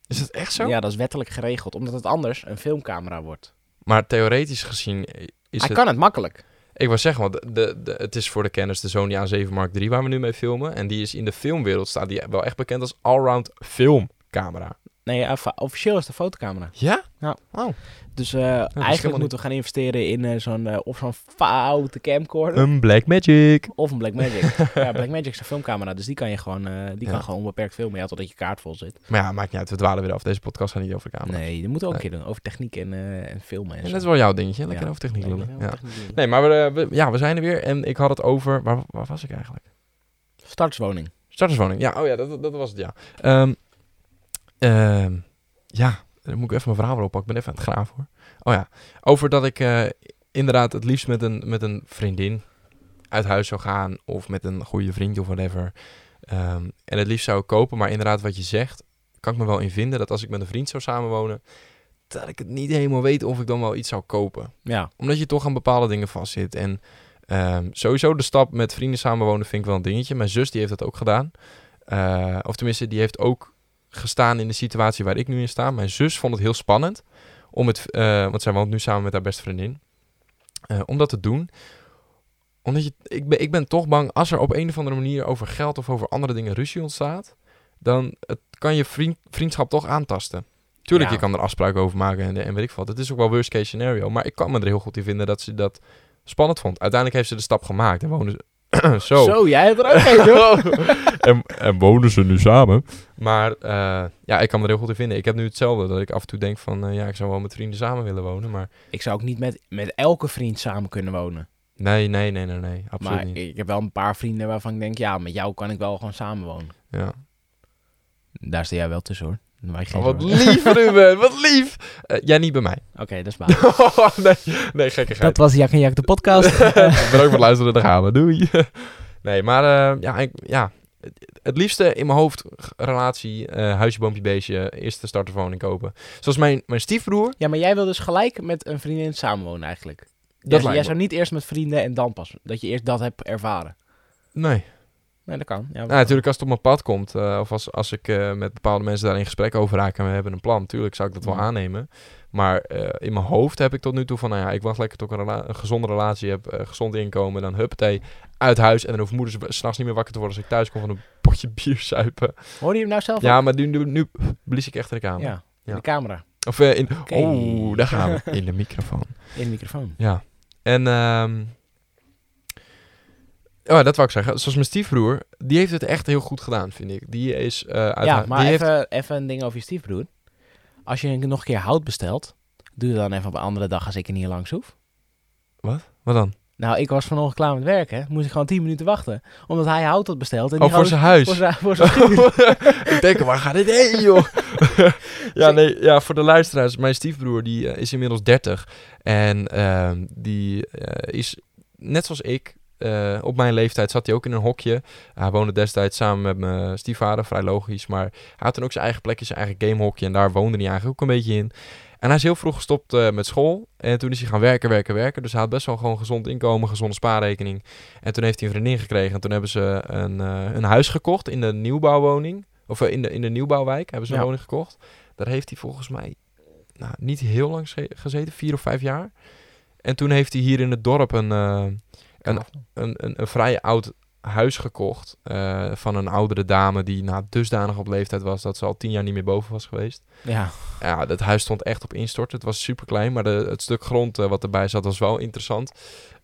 is dat echt zo?
Ja, dat is wettelijk geregeld, omdat het anders een filmcamera wordt.
Maar theoretisch gezien is
Hij
het...
kan het makkelijk.
Ik wou zeggen, want de, de, het is voor de kennis de Sony A7 Mark III waar we nu mee filmen. En die is in de filmwereld, staat die wel echt bekend als allround filmcamera.
Nee, ja, fa- officieel is het een fotocamera.
Ja?
Ja.
Oh.
Dus eh,
helemaal
eigenlijk
niet.
moeten we gaan investeren in eh, zo'n eh, of zo'n foute camcorder
Een Black Magic.
of een Blackmagic. ja, Blackmagic is een filmcamera, dus die kan je gewoon, eh, die
Ja.
kan gewoon onbeperkt filmen. Ja, totdat je kaart vol zit.
Maar ja, maakt niet uit. We dwalen weer af. Deze podcast gaat niet over de camera.
Nee, dat moeten we ook
Nee.
een keer doen. Over techniek en, eh, en filmen en
En
zo.
dat is wel jouw dingetje. Lekker
Ja.
over techniek
Nee,
lullen.
ja,
Ja.
techniek lullen.
Nee, maar we, eh, we- ja, we zijn er weer. En ik had het over... Waar, waar was ik eigenlijk?
Startswoning.
Starterswoning. Ja, oh ja, dat, dat was het, ja. Ehm, ehm, ja, dan moet ik even mijn verhaal weer oppakken. Ik ben even aan het graven, hoor. Oh ja, over dat ik eh, inderdaad het liefst met een, met een vriendin uit huis zou gaan. Of met een goede vriend of whatever. Ehm, en het liefst zou ik kopen. Maar inderdaad, wat je zegt, kan ik me wel in vinden. Dat als ik met een vriend zou samenwonen, dat ik het niet helemaal weet of ik dan wel iets zou kopen
Ja,
omdat je toch aan bepaalde dingen vastzit. En ehm, sowieso de stap met vrienden samenwonen vind ik wel een dingetje. Mijn zus die heeft dat ook gedaan. Eh, of tenminste, die heeft ook gestaan in de situatie waar ik nu in sta. Mijn zus vond het heel spannend. Om het, eh, want zij woont nu samen met haar beste vriendin. Eh, om dat te doen. Omdat je, ik, ben, ik ben toch bang, als er op een of andere manier over geld of over andere dingen ruzie ontstaat. Dan het, kan je vriend, vriendschap toch aantasten. Tuurlijk,
Ja.
je kan er afspraken over maken en, en weet ik wat. Het is ook wel worst case scenario. Maar ik kan me er heel goed in vinden dat ze dat spannend vond. Uiteindelijk heeft ze de stap gemaakt en wonen ze...
Zo, jij hebt er ook een, joh.
en, en wonen ze nu samen. Maar eh, ja, ik kan me er heel goed in vinden. Ik heb nu hetzelfde. Dat ik af en toe denk van, eh, ja, ik zou wel met vrienden samen willen wonen. Maar
Ik zou ook niet met, met elke vriend samen kunnen wonen.
nee, nee, nee, nee, nee. Absoluut
maar
niet.
ik heb wel een paar vrienden waarvan ik denk, ja, met jou kan ik wel gewoon samen wonen.
Ja.
Daar sta jij wel tussen, hoor. Dan maak je geen
Oh, wat
zorgen.
lief, Ruben. Wat lief. Eh, jij niet bij mij.
Oké, dat is waar.
nee, nee, gekkigheid.
Ah. dat was Jack en Jack de podcast.
Bedankt voor het luisteren. Daar gaan we. Doei. nee, maar eh, ja, ik, ja. Het- Het liefste in mijn hoofd, g- relatie, eh, huisje, boompje, beestje, eerste starterwoning kopen. Zoals mijn, mijn stiefbroer.
ja, maar jij wil dus gelijk met een vriendin samenwonen eigenlijk.
Dat
jij, jij
lijkt me.
zou niet eerst met vrienden en dan pas. Dat je eerst dat hebt ervaren.
Nee.
Nee, dat kan. Ja,
Nou, natuurlijk als het op mijn pad komt, eh, of als, als ik eh, met bepaalde mensen daar in gesprek over raak en we hebben een plan, natuurlijk zou ik dat wel
Mm.
aannemen. Maar eh, in mijn hoofd heb ik tot nu toe van, nou ja, ik wacht lekker tot ik een, rela- een gezonde relatie heb, eh, gezond inkomen, dan huppatee, uit huis. En dan hoeft moeders s'nachts niet meer wakker te worden als ik thuis kom van een potje bier zuipen.
Hoorde je hem nou zelf
Ja, maar nu, nu, nu blies ik echt in de
al?
kamer.
Ja,
Ja.
in de camera.
Of eh, in,
Oké.
oeh, daar gaan we, in de microfoon.
In de microfoon.
Ja. En ehm, oh, ja, dat wou ik zeggen. Zoals mijn stiefbroer, die heeft het echt heel goed gedaan, vind ik. Die is eh uit
Ja, maar
die heeft-
even, even een ding over je stiefbroer. Als je nog een keer hout bestelt, doe het dan even op een andere dag als ik er niet langs hoef.
Wat dan?
Nou, ik was vanochtend klaar met werken. Moest ik gewoon 10 minuten wachten. Omdat hij hout had besteld. En die
Oh, voor
gozer-
zijn huis.
voor zijn voor zijn schuur.
ik denk, waar gaat dit heen, joh? ja, nee, ja, voor de luisteraars. Mijn stiefbroer die, eh, is inmiddels 30. En ehm, die eh, is, net zoals ik, eh, op mijn leeftijd zat hij ook in een hokje. Hij woonde destijds samen met mijn stiefvader, vrij logisch. Maar hij had dan ook zijn eigen plekje, zijn eigen gamehokje. En daar woonde hij eigenlijk ook een beetje in. En hij is heel vroeg gestopt eh, met school. En toen is hij gaan werken, werken, werken. Dus hij had best wel gewoon gezond inkomen, gezonde spaarrekening. En toen heeft hij een vriendin gekregen. En toen hebben ze een, eh, een huis gekocht in de nieuwbouwwoning. Of eh, in, de, in de nieuwbouwwijk hebben ze een
Ja.
woning gekocht. Daar heeft hij volgens mij nou, niet heel lang ge- gezeten. Vier of vijf jaar. En toen heeft hij hier in het dorp een, eh, een, een, een, een vrij oud huis gekocht. eh, van een oudere dame die nou, dusdanig op leeftijd was dat ze al tien jaar niet meer boven was geweest.
Ja,
Ja, dat huis stond echt op instorten. Het was super klein, maar de, het stuk grond eh, wat erbij zat was wel interessant.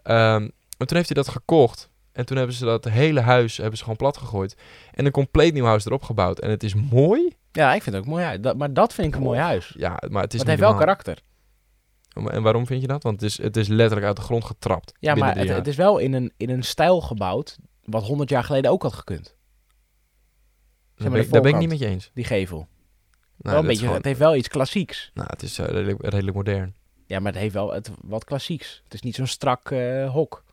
Ehm, En toen heeft hij dat gekocht. En toen hebben ze dat hele huis hebben ze gewoon plat gegooid. En een compleet nieuw huis erop gebouwd. En het is mooi.
Ja, ik vind het ook mooi uit. Dat, maar dat vind ik een mooi huis. Maar
Ja, maar Oh, het is
het
niet
heeft wel
normaal.
karakter.
En waarom vind je dat? Want het is, het is letterlijk uit de grond getrapt.
Ja,
binnen
maar
drie
het,
jaar.
het is wel in een, in een stijl gebouwd wat 100 jaar geleden ook had gekund.
daar,
maar,
ben,
de
ik- daar ben ik
voorkant.
niet met je eens.
Die gevel.
Nou, dat
wel een
is
beetje,
gewoon-
Het heeft wel iets klassieks.
nou, het is eh, redelijk, redelijk modern.
Ja, maar het heeft wel het, wat klassieks. Het is niet zo'n strak eh, hok.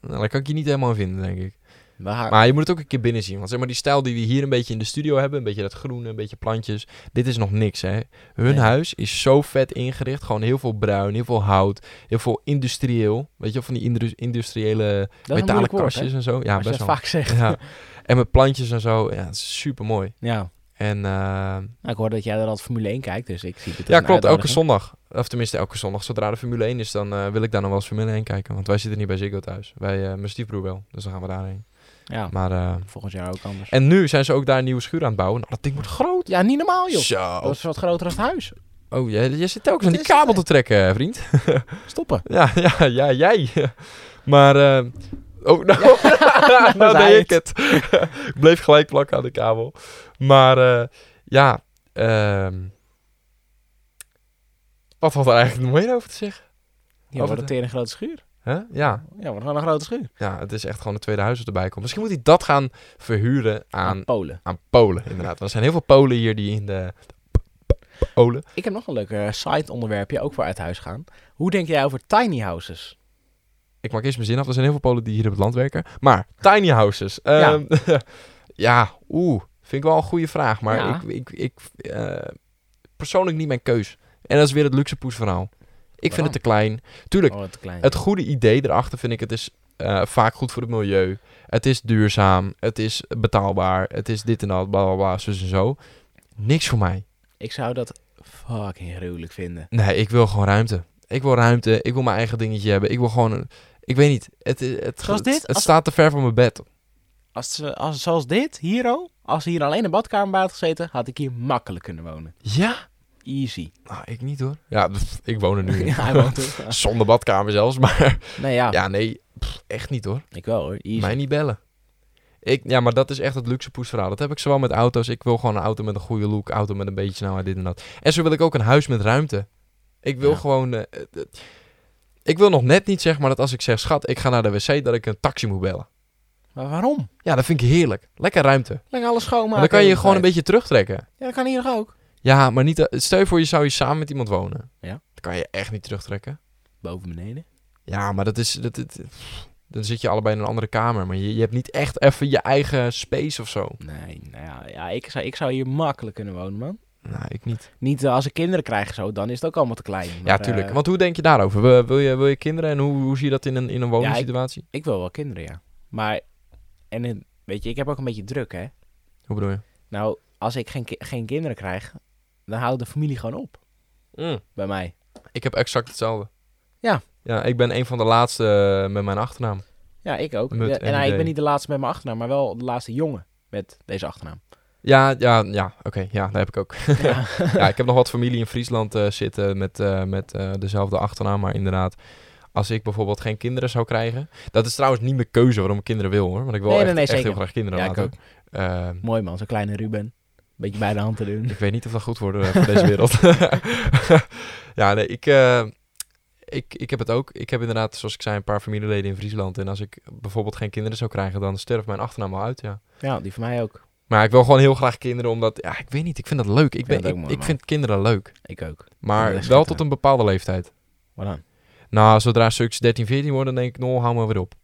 Nou, daar kan ik je niet helemaal in vinden, denk ik.
Maar,
Maar je moet het ook een keer binnen zien. Want zeg maar, die stijl die we hier een beetje in de studio hebben, een beetje dat groene, een beetje plantjes, dit is nog niks, hè. Hun
Nee.
huis is zo vet ingericht. Gewoon heel veel bruin, heel veel hout, heel veel industrieel. Weet je wel, van die indru- industriële
dat is een
metalen
moeilijk woord, hè?
kastjes en zo. Ja,
Als je
best
dat
wel.
vaak zegt.
Ja. En met plantjes en zo. Ja, super mooi.
Ja.
En eh,
Nou, ik hoor dat jij er altijd Formule 1 kijkt, dus ik zie het. als
ja,
een
klopt. Elke
uitnodiging.
zondag. Of tenminste, elke zondag. Zodra de Formule 1 is, dan eh, wil ik daar nog wel eens Formule 1 kijken. Want wij zitten niet bij Ziggo thuis. Bij eh mijn stiefbroer wel. Dus dan gaan we daarheen.
Ja,
Maar, eh,
volgend jaar ook anders.
en nu zijn ze ook daar een nieuwe schuur aan het bouwen. Nou, dat ding wordt groot.
Ja, niet normaal, Oh, joh. Dat
Zo.
is wat groter dan het huis.
Oh, jij, jij zit telkens aan die
Het is- eh,
kabel te trekken, vriend.
Stoppen.
Ja, ja, ja, jij. Maar, eh, oh, nou, nou
zei
deed ik het. ik bleef gelijk plakken aan de kabel. Maar, eh, ja, ehm, wat had er eigenlijk nog meer over te zeggen?
Ja,
Of
wordt
het-
het weer een grote schuur.
Hè? Ja,
Ja, wordt gewoon een grote schuur.
ja, het is echt gewoon het tweede huis dat erbij komt. Misschien moet hij dat gaan verhuren aan,
Aan Polen.
aan Polen, inderdaad. Want er zijn heel veel Polen hier die in de... Polen.
Ik heb nog een leuk eh, side-onderwerpje, ook voor uit huis gaan. Hoe denk jij over tiny houses?
ik maak eerst mijn zin af. Er zijn heel veel Polen die hier op het land werken. Maar tiny houses.
Ja.
Ehm, ja. oeh. Vind ik wel een goede vraag. Maar
Ja.
ik, ik, ik eh, persoonlijk niet mijn keus. En dat is weer het luxe poes verhaal. Ik vind
Waarom?
het te klein. Tuurlijk,
Oh, te klein.
het goede idee erachter vind ik, het is eh, vaak goed voor het milieu. Het is duurzaam. Het is betaalbaar. Het is dit en dat, bla bla bla, zus en zo. Niks voor mij.
Ik zou dat fucking gruwelijk vinden.
Nee, ik wil gewoon ruimte. Ik wil ruimte. Ik wil mijn eigen dingetje hebben. Ik wil gewoon... een- ik weet niet. Het, het, het,
Zoals dit?
het
Als-
staat te ver van mijn bed.
Als, ze- als, zoals dit, hier al, als hier alleen een badkamer bij had gezeten, had ik hier makkelijk kunnen wonen.
Ja?
Easy.
Nou, ik niet hoor. Ja, pff, ik woon er nu in.
Ja, hij woont er.
Zonder badkamer zelfs, maar
Nee, ja,
ja, nee, pff, echt niet hoor.
ik wel hoor. Easy.
Mij niet bellen. Ik, ja, maar dat is echt het luxe poes verhaal. Dat heb ik zowel met auto's. Ik wil gewoon een auto met een goede look, auto met een beetje snelheid, dit en dat. En zo wil ik ook een huis met ruimte. Ik wil
Ja.
gewoon... eh, eh, eh, ik wil nog net niet zeg maar dat als ik zeg, schat, ik ga naar de wc, dat ik een taxi moet bellen.
Maar waarom?
Ja, dat vind ik heerlijk. Lekker ruimte. Want
Lekker alles schoonmaken.
dan kan je je
en
gewoon een
tijd.
beetje terugtrekken.
Ja, dat kan hier nog ook.
Ja, maar niet... eh, Stel je voor, je zou hier samen met iemand wonen.
Ja.
Dan kan je echt niet terugtrekken.
Boven beneden.
Ja, maar dat is. Dat, dat- dan zit je allebei in een andere kamer. Maar je, je hebt niet echt even je eigen space of zo.
Nee, nou ja, ja ik, zou, ik zou hier makkelijk kunnen wonen, man.
Nou, ik niet.
Niet eh, als ik kinderen krijg zo, dan is het ook allemaal te klein. Maar,
Ja, tuurlijk.
eh,
Want hoe denk je daarover? Wil, wil, je, wil je kinderen en hoe, hoe zie je dat in een, in een woningsituatie?
ik wil wel kinderen, ja. Maar, en het- weet je, ik heb ook een beetje druk, hè.
Hoe bedoel je?
Nou, als ik geen, ki- geen kinderen krijg, dan houdt de familie gewoon op bij mij.
Ik heb exact hetzelfde.
Mm. Ja.
Ja, ik ben een van de laatste eh, met mijn achternaam.
Ja, ik ook.
Mut
Ja,
en
en nou, ik
idee.
ben niet de laatste met mijn achternaam, maar wel de laatste jongen met deze achternaam.
Ja, ja, ja. Oké, ja, dat heb ik ook.
Ja.
ja, ik heb nog wat familie in Friesland eh, zitten met, eh, met eh, dezelfde achternaam. Maar inderdaad, als ik bijvoorbeeld geen kinderen zou krijgen... Dat is trouwens niet mijn keuze waarom ik kinderen wil, hoor. Want ik wil
Nee, nee,
echt,
nee,
echt heel
zeker.
graag kinderen
Ja, ik
later.
ook.
Ehm,
Mooi man, zo'n kleine Ruben. Beetje bij de hand te doen.
Ik weet niet of dat goed wordt eh, voor deze wereld. ja, nee, ik, eh, ik, ik heb het ook. Ik heb inderdaad, zoals ik zei, een paar familieleden in Friesland. En als ik bijvoorbeeld geen kinderen zou krijgen, dan sterft mijn achternaam al uit, ja.
Ja, die van mij ook.
Maar ik wil gewoon heel graag kinderen, omdat... Ja, ik weet niet, ik vind dat leuk. Ik,
vind
ben,
dat
ik,
ook mooi,
ik
man.
vind kinderen leuk.
Ik ook.
Maar
dat is
wel
schitterend.
tot een bepaalde leeftijd.
Wat dan?
Nou, zodra stuks 13, 14 worden, dan denk ik, nou, hou maar weer op.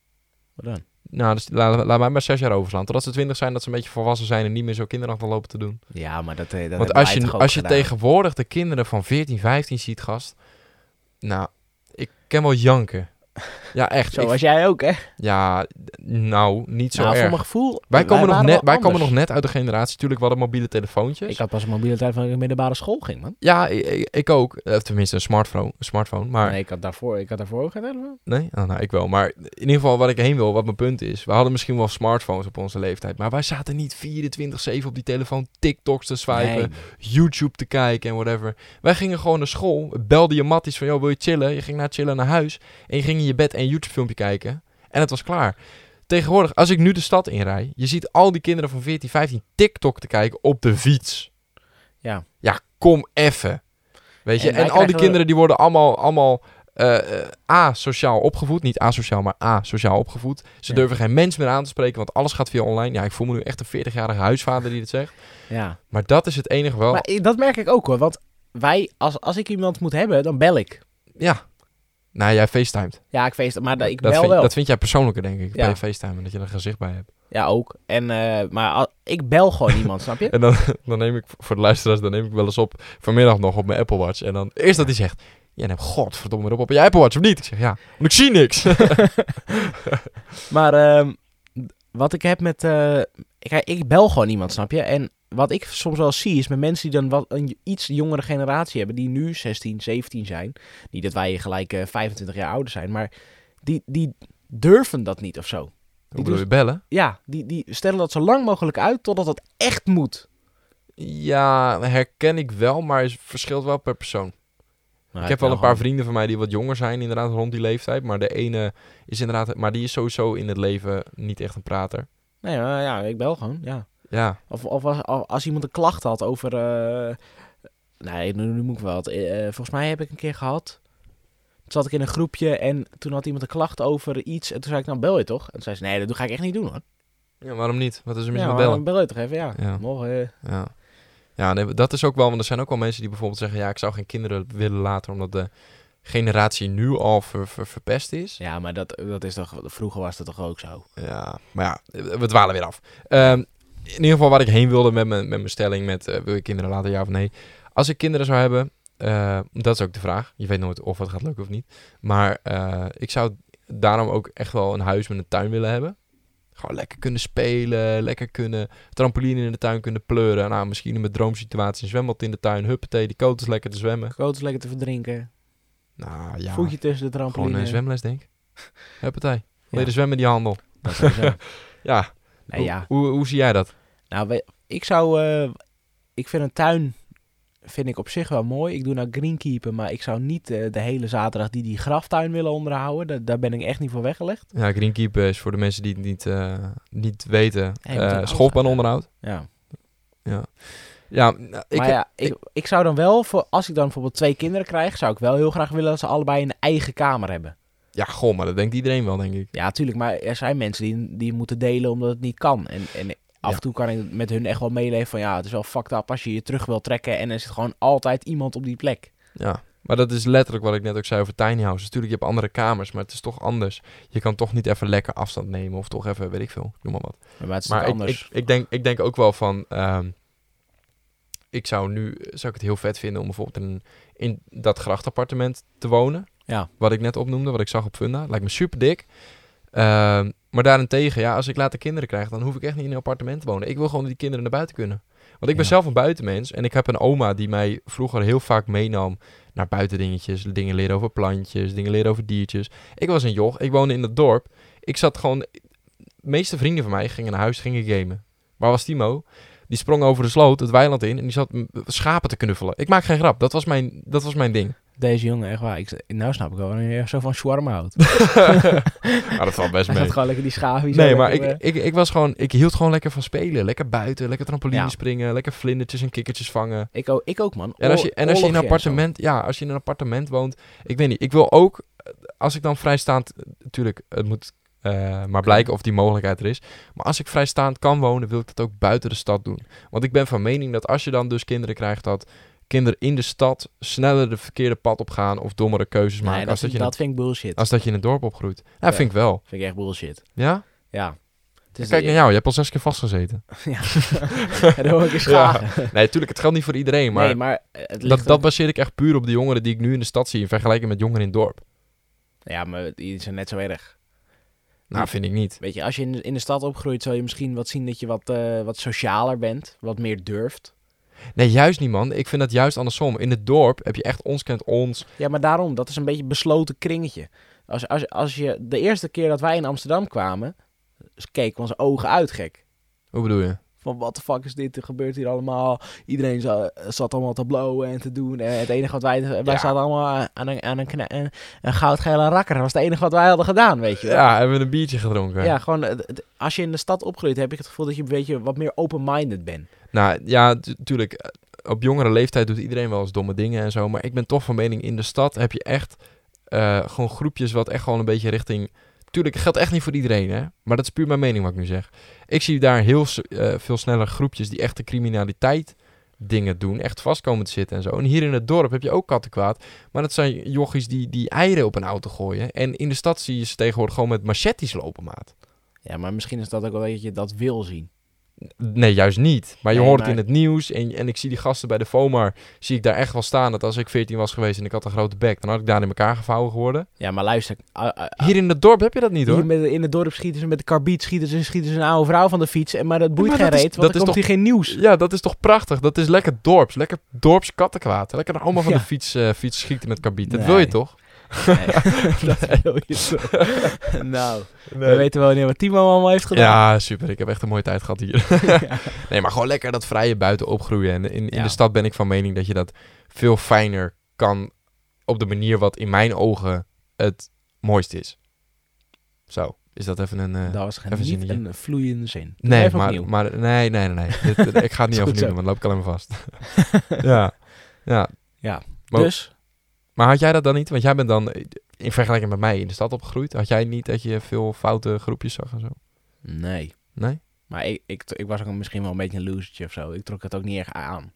Wat dan?
Nou, dus laat, laat mij maar zes jaar overslaan. Totdat ze twintig zijn, dat ze een beetje volwassen zijn en niet meer zo kinderachtig lopen te doen.
Ja, maar dat, eh, dat
Want
hebben
als
wij
je,
toch ook
als je
gedaan?
tegenwoordig de kinderen van 14, 15 ziet, gast. Nou, ik ken wel janken. Ja, echt.
Zo
Ik-
was jij ook, hè?
Ja, d- nou, niet zo
nou,
erg.
voor mijn gevoel...
Wij, komen nog
waren
net,
wel
wij komen nog
anders.
net uit de generatie. Tuurlijk, we hadden mobiele telefoontjes.
Ik had pas een mobiele telefoon toen ik naar de middelbare school ging, man.
Ja, i- i- ik, ook. Eh, Tenminste, een smartphone. Een smartphone maar nee,
Nee, ik had daarvoor, ik had daarvoor ook geen telefoon.
Ah, nou, ik wel. Maar in ieder geval, wat ik heen wil, wat mijn punt is. We hadden misschien wel smartphones op onze leeftijd. Maar wij zaten niet 24-7 op die telefoon TikToks te swipen.
Nee.
YouTube te kijken en whatever. Wij gingen gewoon naar school, belde je matties van, joh, wil je chillen? Je ging naar chillen naar huis en je ging in je bed een YouTube filmpje kijken. En het was klaar. Tegenwoordig, als ik nu de stad inrij, je ziet al die kinderen van 14, 15 TikTok te kijken op de fiets.
Ja.
Ja, kom effen. Weet je,
En
en,
wij
al die
krijgen-
kinderen die worden allemaal, allemaal eh, eh, asociaal opgevoed. Niet asociaal, maar asociaal opgevoed. Ze
Ja.
durven geen mens meer aan te spreken, want alles gaat via online. Ja, ik voel me nu echt een 40-jarige huisvader die dit zegt.
Ja.
Maar dat is het enige wel.
Maar i- dat merk ik ook hoor. Want wij, als, als ik iemand moet hebben, dan bel ik.
Ja. Nou, jij facetimed.
Ja, ik feest, maar da- ik
dat,
bel
vind,
wel.
dat vind jij persoonlijker, denk ik,
Ja.
bij facetimen. Dat je er een gezicht bij hebt.
Ja, ook. En, eh, maar al- ik bel gewoon iemand, snap je?
En dan, dan neem ik, voor de luisteraars, dan neem ik wel eens op vanmiddag nog op mijn Apple Watch. En dan eerst dat hij zegt, jij neemt godverdomme erop op je Apple Watch of niet? Ik zeg, ja, want ik zie niks.
Maar ehm, d- wat ik heb met... eh, ik, ik bel gewoon iemand, snap je? En wat ik soms wel zie is met mensen die dan wat een iets jongere generatie hebben... die nu 16, 17 zijn. Niet dat wij gelijk eh, 25 jaar ouder zijn, maar die, die durven dat niet of zo.
Hoe bedoel je, bellen?
Ja, die, die stellen dat zo lang mogelijk uit totdat het echt moet.
Ja, herken ik wel, maar het verschilt wel per persoon. ik heb wel een paar vrienden van mij die wat jonger zijn, inderdaad, rond die leeftijd. Maar de ene is inderdaad, maar die is sowieso in het leven niet echt een prater.
Nee, maar ja, ik bel gewoon, ja.
Ja,
Of, of als, al- als iemand een klacht had over... eh, nee, nu, nu moet ik wel. wat. Eh, eh, volgens mij heb ik een keer gehad. Toen zat ik in een groepje en toen had iemand een klacht over iets. En toen zei ik, nou bel je toch? En toen zei ze, nee, dat doe- ga ik echt niet doen hoor.
ja waarom niet? Wat is er mis
ja,
met
maar
bellen?
dan bel je toch even, ja.
Ja.
Morgen, eh,
Ja, ja nee, dat is ook wel, want er zijn ook wel mensen die bijvoorbeeld zeggen: Ja, ik zou geen kinderen willen later, omdat de generatie nu al ver, ver- verpest is.
ja, maar dat, dat is toch... Vroeger was dat toch ook zo?
Ja, maar ja, we dwalen weer af. Ehm, in ieder geval waar ik heen wilde met mijn, met mijn stelling: met, eh, Wil je kinderen later, ja of nee? Als ik kinderen zou hebben, eh, dat is ook de vraag. Je weet nooit of het gaat lukken of niet. Maar eh, ik zou daarom ook echt wel een huis met een tuin willen hebben. Gewoon lekker kunnen spelen, lekker kunnen trampoline in de tuin kunnen pleuren. Nou, misschien in mijn droomsituatie een zwembad in de tuin. Huppatee, die koot is lekker te zwemmen.
Groot is lekker te verdrinken.
Nou ja,
Voetje tussen de trampoline.
gewoon eh, een zwemles denk ik. Huppatee, leren
Ja.
zwemmen die handel.
Dat sowieso.
Ja,
nee,
hoe,
ja.
Hoe, hoe zie jij dat?
Nou, we- ik zou... eh, ik vind een tuin vind ik op zich wel mooi. Ik doe nou greenkeeper, maar ik zou niet eh, de hele zaterdag die, die graftuin willen onderhouden. Da- daar ben ik echt niet voor weggelegd.
Ja, greenkeeper is voor de mensen die het niet, eh, niet weten,
Hey, je moet
eh,
een
schoolplan
auto-
onderhoud.
Ja.
Ja, nou, ik,
maar ja, ik, ik, zou dan wel, voor, als ik dan bijvoorbeeld twee kinderen krijg, zou ik wel heel graag willen dat ze allebei een eigen kamer hebben.
ja, goh, maar dat denkt iedereen wel, denk ik.
Ja, tuurlijk, maar er zijn mensen die, die moeten delen omdat het niet kan. En, en af
Ja.
en toe kan ik met hun echt wel meeleven van ja, het is wel fucked up als je je terug wil trekken en er zit gewoon altijd iemand op die plek.
Ja, maar dat is letterlijk wat ik net ook zei over tiny houses. Natuurlijk, je hebt andere kamers, maar het is toch anders. Je kan toch niet even lekker afstand nemen of toch even, weet ik veel, noem maar wat.
Maar het is
Maar
toch
ik,
anders.
ik, ik, denk, ik denk ook wel van, ehm, ik zou nu, zou ik het heel vet vinden om bijvoorbeeld in, in dat grachtappartement te wonen.
Ja.
Wat ik net opnoemde, wat ik zag op Funda. Lijkt me super dik. Ehm, maar daarentegen, ja, als ik later kinderen krijg, dan hoef ik echt niet in een appartement te wonen. Ik wil gewoon die kinderen naar buiten kunnen. Want ik ben
Ja.
zelf een buitenmens en ik heb een oma die mij vroeger heel vaak meenam naar buitendingetjes. Dingen leren over plantjes, dingen leren over diertjes. Ik was een joch, ik woonde in het dorp. Ik zat gewoon... De meeste vrienden van mij gingen naar huis, gingen gamen. Waar was Timo? Die sprong over de sloot, het weiland in en die zat mm, schapen te knuffelen. Ik maak geen grap, dat was mijn, dat was mijn ding.
Deze jongen, echt waar. Ik, nou snap ik wel wanneer je zo van shawarma houdt.
maar dat valt best
Hij gaat
mee.
gewoon lekker die schaafjes. eh,
Nee, maar ik, ik, ik was gewoon, ik hield gewoon lekker van spelen. Lekker buiten, lekker trampoline
Ja.
springen, lekker vlindertjes en kikkertjes vangen.
Ik ook, ik ook, man.
En als je, en als je in een
Oorlogje en zo.
appartement, ja, als je in een appartement woont, ik weet niet, ik wil ook, eh, als ik dan vrijstaand, natuurlijk, het moet eh, maar blijken of die mogelijkheid er is. Maar als ik vrijstaand kan wonen, wil ik dat ook buiten de stad doen. Want ik ben van mening dat als je dan dus kinderen krijgt, dat kinderen in de stad sneller de verkeerde pad opgaan of dommere keuzes
Nee,
maken
dat,
als, dat je in,
dat vind ik bullshit.
het- als dat je in het dorp opgroeit. Ja,
Ja.
vind ik wel.
vind ik echt bullshit.
Ja?
Ja. Het is-
Kijk naar jou, je hebt al zes keer vastgezeten.
Dus Ja. Daar hoor ik eens graag.
Nee, tuurlijk, het geldt niet voor iedereen, maar...
nee, maar eh, het ligt
dat, dat
ook-
baseer ik echt puur op de jongeren die ik nu in de stad zie... in vergelijking met jongeren in het dorp.
Ja, maar die zijn net zo erg.
Nou, vind ik niet.
Weet je, als je in, in de stad opgroeit, zal je misschien wat zien dat je wat, eh, wat socialer bent. Wat meer durft.
Nee, juist niet, man. Ik vind dat juist andersom. In het dorp heb je echt ons kent ons.
Ja, maar daarom, dat is een beetje een besloten kringetje. Als, als, als je de eerste keer dat wij in Amsterdam kwamen, keken we onze ogen uit gek.
Hoe bedoel je?
Van what the fuck is dit? Er gebeurt hier allemaal. Iedereen za- zat allemaal te blowen en te doen. En het enige wat wij... Wij
Ja.
zaten allemaal aan een, aan een, kna- een, een goudgele rakker. Dat was het enige wat wij hadden gedaan, weet je wel.
Ja, hebben we een biertje gedronken.
Ja, gewoon het- het- als je in de stad opgroeit, heb ik het gevoel dat je een beetje wat meer open-minded bent.
Nou ja, tu- tuurlijk. eh, Op jongere leeftijd doet iedereen wel eens domme dingen en zo. Maar ik ben toch van mening, in de stad heb je echt eh, gewoon groepjes wat echt gewoon een beetje richting... Tuurlijk, het geldt echt niet voor iedereen, hè. Maar dat is puur mijn mening wat ik nu zeg. Ik zie daar heel s- eh, veel sneller groepjes die echt de criminaliteit dingen doen. Echt vast komen te zitten en zo. En hier in het dorp heb je ook kattenkwaad. Maar dat zijn jochies die, die eieren op een auto gooien. En in de stad zie je ze tegenwoordig gewoon met machetes lopen, maat.
Ja, maar misschien is dat ook wel dat je dat wil zien.
Nee, juist niet. Maar je
Nee,
hoort
maar-
het in het nieuws. En, en ik zie die gasten bij de FOMAR. Zie ik daar echt wel staan. Dat als ik 14 was geweest en ik had een grote bek. Dan had ik daar in elkaar gevouwen geworden.
Ja, maar luister. ah, ah, ah,
Hier in het dorp heb je dat niet hoor.
hier met, in het dorp schieten ze met de karbiet, schieten ze, schieten ze een oude vrouw van de fiets. En, maar dat boeit
maar
geen
dat is-
reet, want
dat
er
is
komt hier geen nieuws.
Ja, dat is toch prachtig. Dat is lekker dorps. Lekker dorps kattenkwaad. Lekker allemaal van
Ja.
de fiets, eh, fiets schieten met karbiet. Dat
Nee.
wil je toch?
dat wil je zo. nou, we weten wel wanneer wat Timo allemaal heeft gedaan.
Ja, super. Ik heb echt een mooie tijd gehad hier. nee, maar gewoon lekker dat vrije buiten opgroeien. En in, in
Ja.
de stad ben ik van mening dat je dat veel fijner kan op de manier wat in mijn ogen het mooist is. Zo, is dat even een... eh,
dat was
even
geen, niet
zinnetje.
een vloeiende zin. Doe
Nee,
even
maar,
opnieuw.
maar nee, nee, nee. nee. Dit- ik ga het niet
Goed
overnieuw
zo.
doen, want dan loop ik alleen maar vast. ja. ja. maar-
dus,
Maar had jij dat dan niet? Want jij bent dan eh, in vergelijking met mij in de stad opgegroeid. Had jij niet dat je veel foute groepjes zag en zo?
nee.
Nee?
Maar ik, ik, ik was ook misschien wel een beetje een losertje of zo. Ik trok het ook niet erg aan.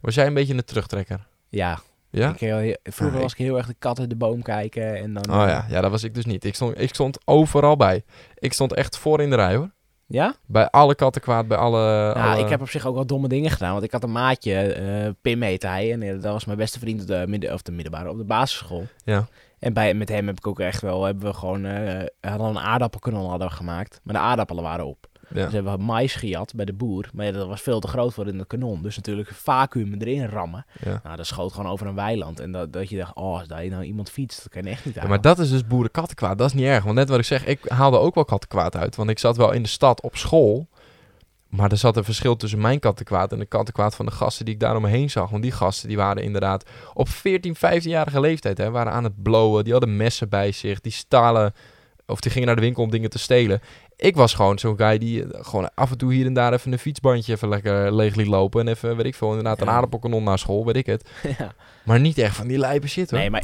Was jij een beetje een terugtrekker?
Ja,
Ja?
ik, heel- vroeger
Ah,
was ik heel erg de kat uit de boom kijken. En dan, eh,
Oh ja, ja, dat was ik dus niet. Ik stond, ik stond overal bij. Ik stond echt voor in de rij hoor.
Ja?
Bij alle katten kwaad, bij alle...
Nou,
alle-
ik heb op zich ook wel domme dingen gedaan. Want ik had een maatje, eh, Pim heette hij. En eh, dat was mijn beste vriend op de, midden, of de middelbare, op de basisschool.
Ja.
En bij, met hem heb ik ook echt wel, hebben we gewoon, eh, hadden een aardappelknol hadden we gemaakt. Maar de aardappelen waren op.
Ja.
Dus hebben we mais gejat bij de boer. Maar ja, dat was veel te groot voor in het kanon. Dus natuurlijk vacuüm erin rammen.
Ja.
Nou, dat schoot gewoon over een weiland. En dat, dat je dacht, oh, als daar nou iemand fietst, dat kan je echt niet aan.
Ja, maar dat is dus boerenkattenkwaad. Dat is niet erg. Want net wat ik zeg, ik haalde ook wel kattenkwaad uit. Want ik zat wel in de stad op school. Maar er zat een verschil tussen mijn kattenkwaad en de kattenkwaad van de gasten die ik daar om me heen zag. Want die gasten die waren inderdaad op 14, 15-jarige leeftijd. Hè, waren aan het blowen. Die hadden messen bij zich. Die stalen. Of die gingen naar de winkel om dingen te stelen. Ik was gewoon zo'n guy die eh, gewoon af en toe hier en daar even een fietsbandje even lekker leeg liet lopen. En even, weet ik veel, inderdaad een
Ja.
aardappelkanon naar school, weet ik het.
Ja.
Maar niet echt van die lijpe shit hoor.
Nee, maar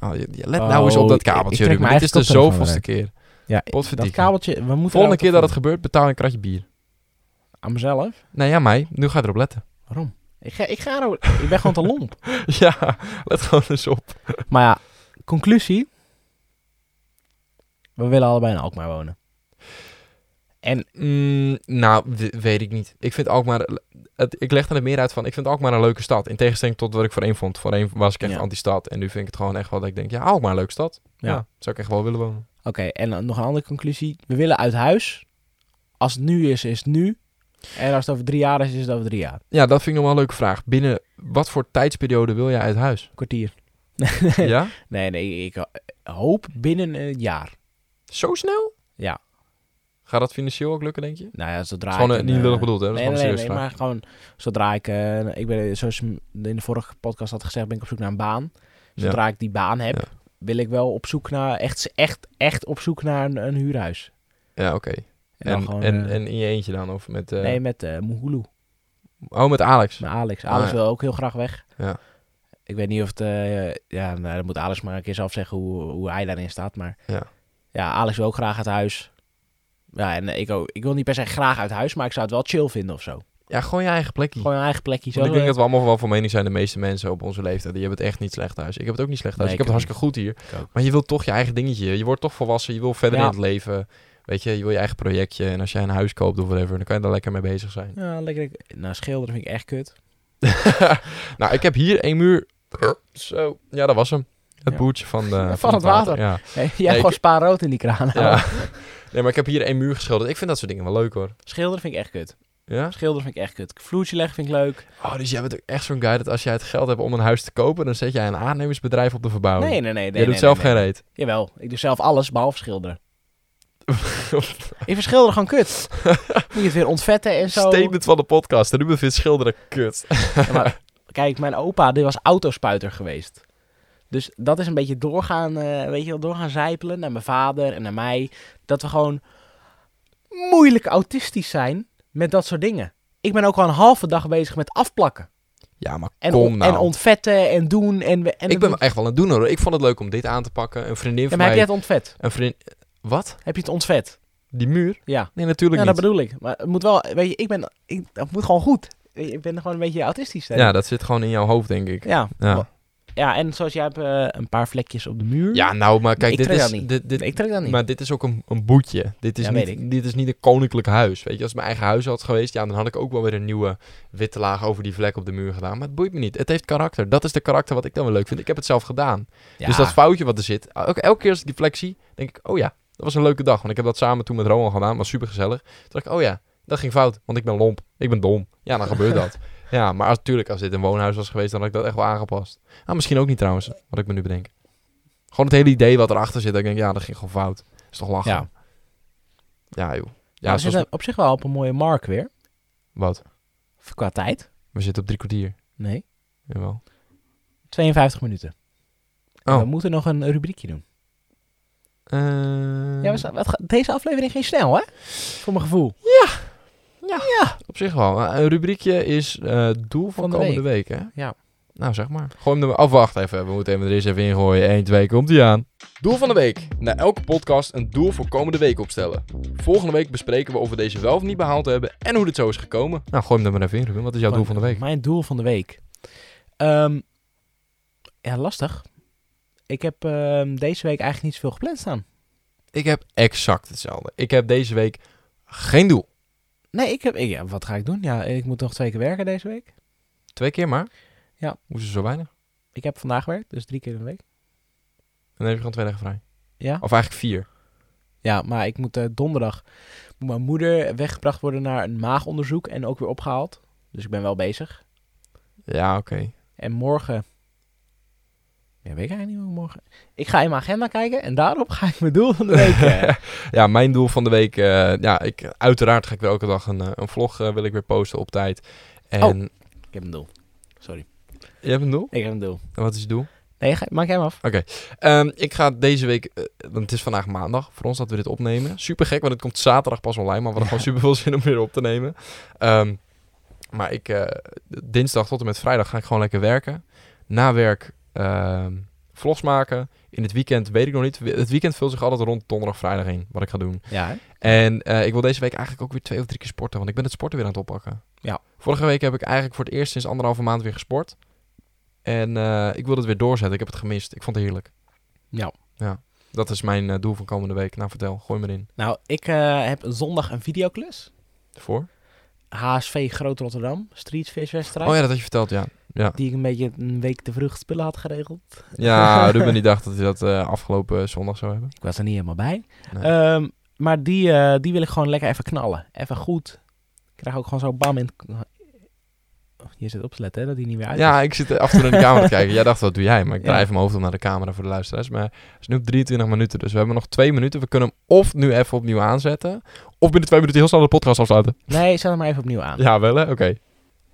Oh, je- je let nou eens
Oh,
op dat
ik- ik
kabeltje,
trek
Ruben.
mijn
Dit is de
eigen koptelefoon
zoveelste
eruit.
keer.
ja, dat
Potverdikkie.
kabeltje, we moeten...
Volgende
er
keer
altijd
dat het gebeurt, betaal een kratje bier.
van. Aan mezelf?
Nee, ja, mij. Nu ga je erop letten.
Waarom? Ik, ga, ik, ga er, ik ben gewoon te lomp.
ja, let gewoon eens op.
Maar ja, conclusie. We willen allebei in Alkmaar wonen. En
Mm, nou, w- weet ik niet. Ik vind Alkmaar... Het, ik leg er meer uit van, ik vind Alkmaar een leuke stad. In tegenstelling tot wat ik voorheen vond. Voorheen was ik echt
Ja.
anti-stad. En nu vind ik het gewoon echt wel dat ik denk, ja, Alkmaar een leuke stad. Ja.
Ja.
zou ik echt wel willen wonen.
oké, en dan nog een andere conclusie. We willen uit huis. Als het nu is, is het nu. En als het over drie jaar is, is het over drie jaar.
Ja, dat vind ik nog wel een leuke vraag. Binnen wat voor tijdsperiode wil jij uit huis?
Kwartier.
ja?
Nee, nee, ik hoop binnen een jaar.
Zo snel?
Ja.
Gaat dat financieel ook lukken, denk je?
Nou ja, zodra
Dat is gewoon
ik
eh,
een,
niet
eh,
lullig bedoeld, hè? Dat is
Nee,
gewoon
nee,
een
nee,
serieuze
nee,
vraag.
maar gewoon zodra ik, eh, ik ben, zoals in de vorige podcast had gezegd, ben ik op zoek naar een baan. Zodra ik die baan heb,
Ja.
wil ik wel op zoek naar, echt, echt, echt op zoek naar een, een huurhuis.
Ja, oké.
En, dan
En,
gewoon,
en,
eh,
en in je eentje dan? Of met, eh,
Nee, met eh Muhulu.
Oh, met Alex.
Met Alex.
Ah,
Alex
ja.
wil ook heel graag weg.
Ja.
Ik weet niet of het... eh, ja, nou, dat moet Alex maar een keer zelf zeggen hoe, hoe hij daarin staat. Maar
Ja.
ja, Alex wil ook graag uit huis. Ja, en eh, ik, ook, ik wil niet per se graag uit huis, maar ik zou het wel chill vinden of zo.
Ja, gewoon je eigen plekje.
Gewoon een eigen plekje zo.
Want ik Hm. denk
eh,
dat we allemaal wel van mening zijn, de meeste mensen op onze leeftijd. Die hebben het echt niet slecht thuis. Ik heb het ook niet slecht thuis.
Nee,
ik heb
ik
het
ook
hartstikke goed hier.
Ik ook.
Maar je wilt toch je eigen dingetje. Je wordt toch volwassen. Je wil verder
Ja.
in het leven. Weet je, je wil je eigen projectje. En als jij een huis koopt of whatever, dan kan je daar lekker mee bezig zijn.
Ja, lekker. Nou, schilderen vind ik echt kut.
nou, ik heb hier één muur. Zo. Ja, dat was hem. Het
Ja.
boertje van, de,
Van het water.
Ja.
Nee, jij
ik-
hebt gewoon spaar rood in die kraan.
ja. Nee, maar ik heb hier één muur geschilderd. Ik vind dat soort dingen wel leuk hoor.
Schilderen vind ik echt kut.
Ja?
Schilderen vind ik echt kut. Vloertje leggen vind ik leuk.
Oh, dus jij bent ook echt zo'n guy dat als jij het geld hebt om een huis te kopen, dan zet jij een aannemersbedrijf op de verbouwing.
Nee, nee, nee. nee
jij Oh. doet
nee,
zelf
nee, nee.
geen reet.
Jawel, ik doe zelf alles behalve schilderen. Ik verschilder gewoon kut. Moet je het weer ontvetten en zo.
Statement van de podcast. En Ruben vindt schilderen kut.
Ja, maar, kijk, mijn opa die was autospuiter geweest. Dus dat is een beetje doorgaan, eh, weet je wel, doorgaan zijpelen naar mijn vader en naar mij. Dat we gewoon moeilijk autistisch zijn met dat soort dingen. Ik ben ook al een halve dag bezig met afplakken.
Ja, maar
En,
kom
on-
nou.
en ontvetten en doen. En, we- en
ik ben echt wel aan het doen hoor. Ik vond het leuk om dit aan te pakken. Een vriendin
Ja,
van
maar heb
mij...
je het ontvet?
Een vriendin... Wat?
Heb je het ontvet?
Die muur?
Ja.
Nee, natuurlijk
Ja, dat
niet.
bedoel ik. Maar het moet wel, weet je, ik ben, ik, dat moet gewoon goed. Weet je, Ik ben gewoon een beetje autistisch. hè.
Ja, dat zit gewoon in jouw hoofd, denk ik.
Ja.
Ja.
Ja, en zoals jij hebt eh, een paar vlekjes op de muur.
Ja, nou, maar kijk,
Ik
dit
trek
is,
dat niet.
dit, dit,
Nee, ik trek dat niet.
maar dit is ook een, een boetje. Dit is,
Ja, weet
niet, dit is niet een koninklijk huis. Weet je, als het mijn eigen huis had geweest, ja, dan had ik ook wel weer een nieuwe witte laag over die vlek op de muur gedaan. Maar het boeit me niet. Het heeft karakter. Dat is de karakter wat ik dan wel leuk vind. Ik heb het zelf gedaan.
Ja.
Dus dat foutje wat er zit, ook elke keer als ik die vlek zie, denk ik, oh ja, dat was een leuke dag. Want ik heb dat samen toen met Roman gedaan, was super gezellig. Toen dacht ik, oh ja, dat ging fout, want ik ben lomp. Ik ben dom. Ja, dan gebeurt dat. Ja, maar als- natuurlijk, als dit een woonhuis was geweest, dan had ik dat echt wel aangepast. Nou, misschien ook niet trouwens, wat ik me nu bedenk. Gewoon het hele idee wat erachter zit, dat ik denk, ja, dat ging gewoon fout. Is toch lachen?
Ja.
Ja, joh. Ja,
Maar we
zoals-
zitten op zich wel op een mooie mark weer.
wat?
Of Qua tijd.
We zitten op drie kwartier.
Nee.
Jawel.
52 minuten. En
Oh.
We moeten nog een rubriekje doen.
Eh, Hmm.
Ja,
Ehm,
we staan- wat ga- deze aflevering ging snel, hè? Voor mijn gevoel.
Op zich wel. Eh, Een rubriekje is eh, doel van,
Van de
komende week. hè?
Ja.
Nou, zeg maar. Gooi hem er maar. Of wacht even. We moeten hem er eens even in gooien. 1, 2, komt hij aan. Doel van de week. Na elke podcast een doel voor komende week opstellen. Volgende week bespreken we of we deze wel of niet behaald hebben en hoe dit zo is gekomen. Nou, gooi hem er maar even in, Ruben. Wat is jouw doel van de week?
Mijn doel van de week. Ehm, ja, lastig. Ik heb ehm, deze week eigenlijk niet zoveel gepland staan.
Ik heb exact hetzelfde. Ik heb deze week geen doel.
Nee, ik heb... ik- ja, wat ga ik doen? Ja, ik moet nog twee keer werken deze week.
Twee keer maar.
Ja.
Hoezo zo weinig?
Ik heb vandaag gewerkt, dus drie keer in de week.
En dan heb je gewoon twee dagen vrij.
Ja.
Of eigenlijk vier.
Ja, maar ik moet eh, donderdag moet mijn moeder weggebracht worden naar een maagonderzoek en ook weer opgehaald. Dus ik ben wel bezig.
Ja, oké.
En morgen. Ja, weet ik eigenlijk niet hoe morgen. Ik ga in mijn agenda kijken en daarop ga ik mijn doel van de week. eh,
ja, mijn doel van de week. eh, ja, ik, uiteraard ga ik weer elke dag een, eh, een vlog eh, wil ik weer posten op tijd. En
ik heb een doel. Sorry.
je hebt een doel?
Ik heb een doel.
En wat is je doel?
Nee, ga, maak jij hem af.
Ehm, ik ga deze week, eh, want het is vandaag maandag voor ons dat we dit opnemen. Super gek, want het komt zaterdag pas online, maar we hadden gewoon super veel zin om weer op te nemen. Ehm, maar ik, eh, dinsdag tot en met vrijdag ga ik gewoon lekker werken. Na werk ehm, vlogs maken. In het weekend weet ik nog niet. Het weekend vult zich altijd rond donderdag, vrijdag in wat ik ga doen.
Ja, hè?
En eh, ik wil deze week eigenlijk ook weer twee of drie keer sporten, want ik ben het sporten weer aan het oppakken.
Ja.
Vorige week heb ik eigenlijk voor het eerst sinds anderhalve maand weer gesport. En eh, ik wil het weer doorzetten. Ik heb het gemist. Ik vond het heerlijk.
Ja.
Ja. Dat is mijn eh, doel van komende week. Nou, vertel. Gooi me erin.
Nou, ik eh, heb zondag een videoclus.
Voor?
HSV Groot Rotterdam, Streetfish wedstrijd.
Oh ja, dat had je verteld, ja. Ja,
Die ik een beetje een week te vroeg spullen had geregeld.
ja Ruben die dacht dat hij dat eh, afgelopen zondag zou hebben.
Ik was er niet helemaal bij.
Nee.
Ehm, maar die, eh, die wil ik gewoon lekker even knallen. Even goed. Ik krijg ook gewoon zo bam in het... Oh, je zit op te letten, hè, dat hij niet meer uit
Ja,
is.
ik zit af en toe naar de camera te kijken. Jij dacht, wat doe jij? Maar ik draai
Ja.
even mijn hoofd om naar de camera voor de luisteraars. Maar het is nu op 23 minuten, dus we hebben nog twee minuten. We kunnen hem of nu even opnieuw aanzetten, of binnen twee minuten heel snel de podcast afsluiten.
Nee, zet hem maar even opnieuw aan.
Ja, wel hè? Oké.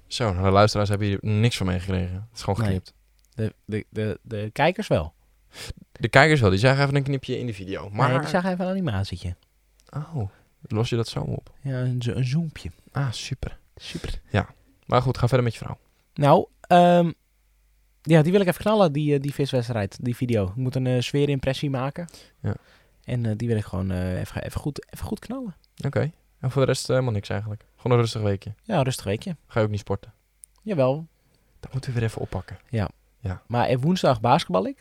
Zo, nou, de luisteraars hebben hier niks van meegekregen. Het is gewoon
Nee.
geknipt.
De, de, de, de kijkers wel.
De kijkers wel, die zagen even een knipje in de video. Maar...
Maar ik zag even een animatietje.
Oh, los je dat zo op?
Ja, een, zo- een zoompje.
Ah, super.
Super.
Maar goed, ga verder met je vrouw.
Nou, ehm, ja, die wil ik even knallen, die, eh, die viswedstrijd, die video. Ik moet een eh, sfeerimpressie maken.
Ja.
En eh, die wil ik gewoon eh, even, even, goed, even goed knallen.
Oké. En voor de rest eh, helemaal niks eigenlijk. Gewoon een rustig weekje.
Ja, rustig weekje.
Ga je ook niet sporten.
Jawel,
Dat moeten we weer even oppakken.
Maar eh, woensdag basketbal ik.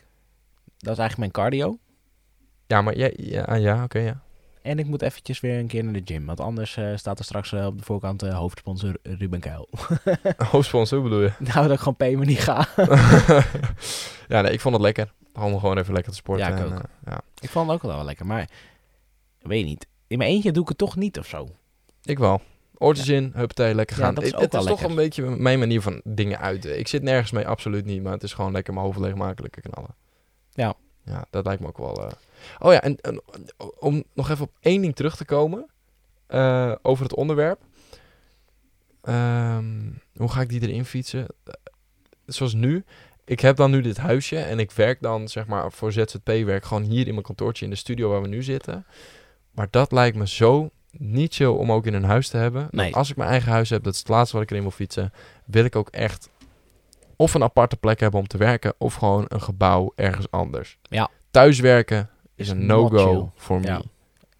Dat is eigenlijk mijn cardio.
Ja, maar jij... Ja, ah, ja oké, ja.
En ik moet eventjes weer een keer naar de gym. Want anders eh, staat er straks eh, op de voorkant eh, hoofdsponsor Ruben Kuil.
Hoofdsponsor Oh, bedoel je?
nou, dat ik gewoon payment niet ga.
ja, nee, ik vond het lekker. Om gewoon even lekker te sporten.
Ja, ik
en,
ook.
eh, ja.
ik vond het ook wel wel lekker. Maar ik weet niet. In mijn eentje doe ik het toch niet of zo.
ik wel. Oortjes in, huppatee, lekker
Ja,
gaan.
dat is
Ik-
ook
het
wel
is toch
lekker.
een beetje mijn manier van dingen uiten. Ik zit nergens mee, absoluut niet. Maar het is gewoon lekker mijn hoofd leeg maken, lekker knallen. Ja, dat lijkt me ook wel. eh. Oh ja, en, en om nog even op één ding terug te komen eh, over het onderwerp. Ehm, hoe ga ik die erin fietsen? Eh, Zoals nu, ik heb dan nu dit huisje en ik werk dan zeg maar voor ZZP-werk gewoon hier in mijn kantoortje in de studio waar we nu zitten. Maar dat lijkt me zo niet chill om ook in een huis te hebben. Want
Nee.
Als ik mijn eigen huis heb, dat is het laatste wat ik erin wil fietsen, wil ik ook echt of een aparte plek hebben om te werken of gewoon een gebouw ergens anders.
Ja.
Thuiswerken is
Is
een
not
no-go voor
Ja.
me.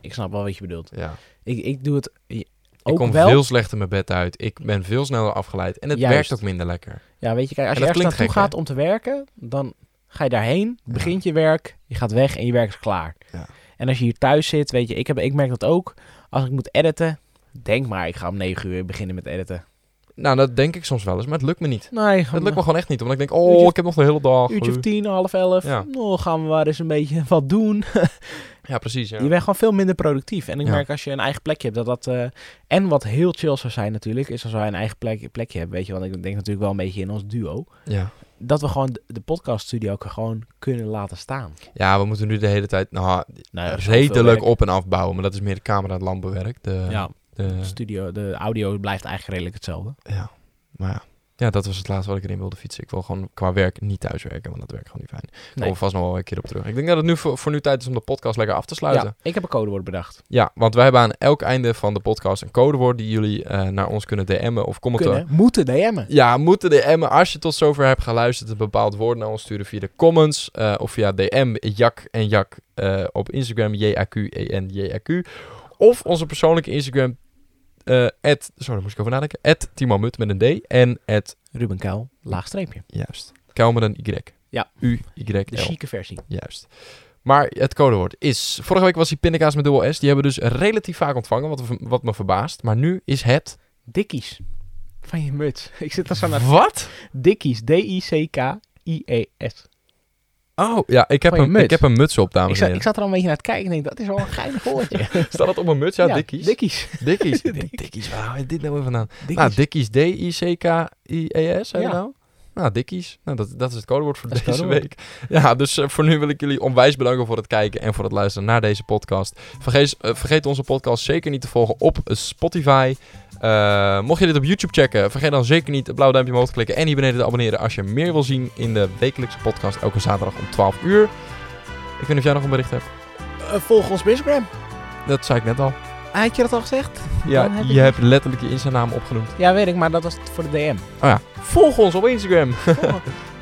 Ik snap wel wat je bedoelt.
Ja.
Ik, ik doe het eh,
Ik
ook
kom
wel.
veel slechter mijn bed uit. Ik ben veel sneller afgeleid. En het
Juist.
werkt ook minder lekker.
Ja, weet je, kijk, als
En
je
dat
ergens
klinkt
naartoe
gek,
gaat om te werken, dan ga je daarheen,
Ja.
begint je werk, je gaat weg en je werk is klaar.
Ja.
En als je hier thuis zit, weet je, ik, heb, ik merk dat ook. Als ik moet editen, denk maar, ik ga om negen uur beginnen met editen.
Nou, dat denk ik soms wel eens, maar het lukt me niet.
Oh, Nee,
Het
gaan
lukt
we
me gewoon echt niet, omdat ik denk,
Uurtje
oh,
of-
ik heb nog de hele dag.
een uurtje of tien, half elf.
Ja.
Nou, gaan we maar eens een beetje wat doen.
Ja, precies. Ja.
Je bent gewoon veel minder productief. En ik
Ja.
merk als je een eigen plekje hebt, dat dat... eh, en wat heel chill zou zijn natuurlijk, is als wij een eigen plek, plekje hebben, weet je. Want ik denk natuurlijk wel een beetje in ons duo.
Ja.
Dat we gewoon de, de podcaststudio ook gewoon kunnen laten staan.
ja, we moeten nu de hele tijd nou,
Nou, ja, zoveel
redelijk
werk.
op- en afbouwen. Maar dat is meer de camera en het lampenwerk. De,
Ja, de
de,
studio, de audio blijft eigenlijk redelijk hetzelfde.
ja. Maar ja. ja, dat was het laatste wat ik erin wilde fietsen. Ik wil gewoon qua werk niet thuiswerken, want dat werkt gewoon niet fijn. Daar
Nee.
komen we vast nog wel een keer op terug. Ik denk dat het nu voor, voor nu tijd is om de podcast lekker af te sluiten.
Ja, ik heb een codewoord bedacht.
Ja, want wij hebben aan elk einde van de podcast een codewoord die jullie eh, naar ons kunnen DM'en of commenten.
Kunnen, moeten DM'en.
Ja, moeten DM'en. Als je tot zover hebt geluisterd, een bepaald woord naar ons sturen via de comments eh, of via DM Jak en Jak eh, op Instagram E JAQ-EN-JAQ. Of onze persoonlijke Instagram, eh at, sorry, daar moest ik over nadenken, at Timo Mut met een D en at,
Ruben Kuil, laagstreepje.
juist, Kuil met een Y.
Ja. De
U-Y-L.
chique versie.
Juist. Maar het codewoord is... Vorige week was die pindakaas met dubbel S. Die hebben we dus relatief vaak ontvangen, wat, me- wat me verbaast. Maar nu is het...
Dikkies. Van je muts. Ik zit er zo naar...
Wat?
Dikkies. D-I-C-K-I-E-S.
Oh, ja, ik heb,
Van je
een,
muts.
ik heb een muts op,
Ik
dames en
zat, ik
heren.
zat er al een beetje naar het kijken. Ik denk, dat is wel een geinig woordje.
Staat dat op een muts? Ja, dikkies.
Dikkies.
Dikkies.
Dikkies.
Dikkies, waar haal je dit nou weer vandaan?
Dikkies.
Nou, dikkies. D-I-C-K-I-E-S, zei je
Ja.
nou? Nou, dikkies. Nou, dat, dat is het codewoord voor
Dat is
deze
het codewoord.
week. Ja, dus eh, voor nu wil ik jullie onwijs bedanken voor het kijken en voor het luisteren naar deze podcast. Vergeet, eh, vergeet onze podcast zeker niet te volgen op Spotify. Eh, mocht je dit op YouTube checken, vergeet dan zeker niet het blauwe duimpje omhoog te klikken en hier beneden te abonneren als je meer wil zien in de wekelijkse podcast elke zaterdag om 12 uur. Ik weet niet of jij nog een bericht hebt.
Eh, volg ons op Instagram.
Dat zei ik net al.
Ah, Had je dat al gezegd?
Ja,
Dan heb ik
je hebt letterlijk je Insta-naam opgenoemd.
Ja, weet ik, maar dat was het voor de DM.
Oh ja, volg ons op Instagram.
Oh.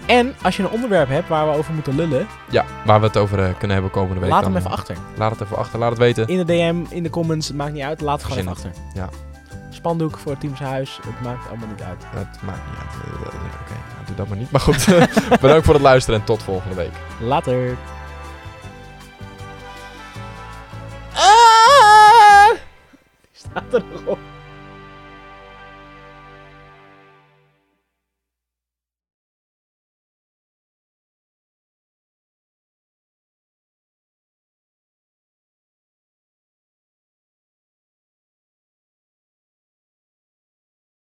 en als je een onderwerp hebt waar we over moeten lullen,
Ja, waar we het over eh, kunnen hebben komende week.
laat
dan,
hem even
eh,
achter.
Laat het even achter, laat het weten.
In de DM, in de comments, het maakt niet uit. Laat het gewoon even
Verzin
achter.
Ja.
Spandoek voor het teamshuis, het maakt allemaal niet uit.
Het maakt niet uit. Eh, Oké, nou, doe dat maar niet. Maar goed, bedankt voor het luisteren en tot volgende week.
Later. Ah! Staat er nog op.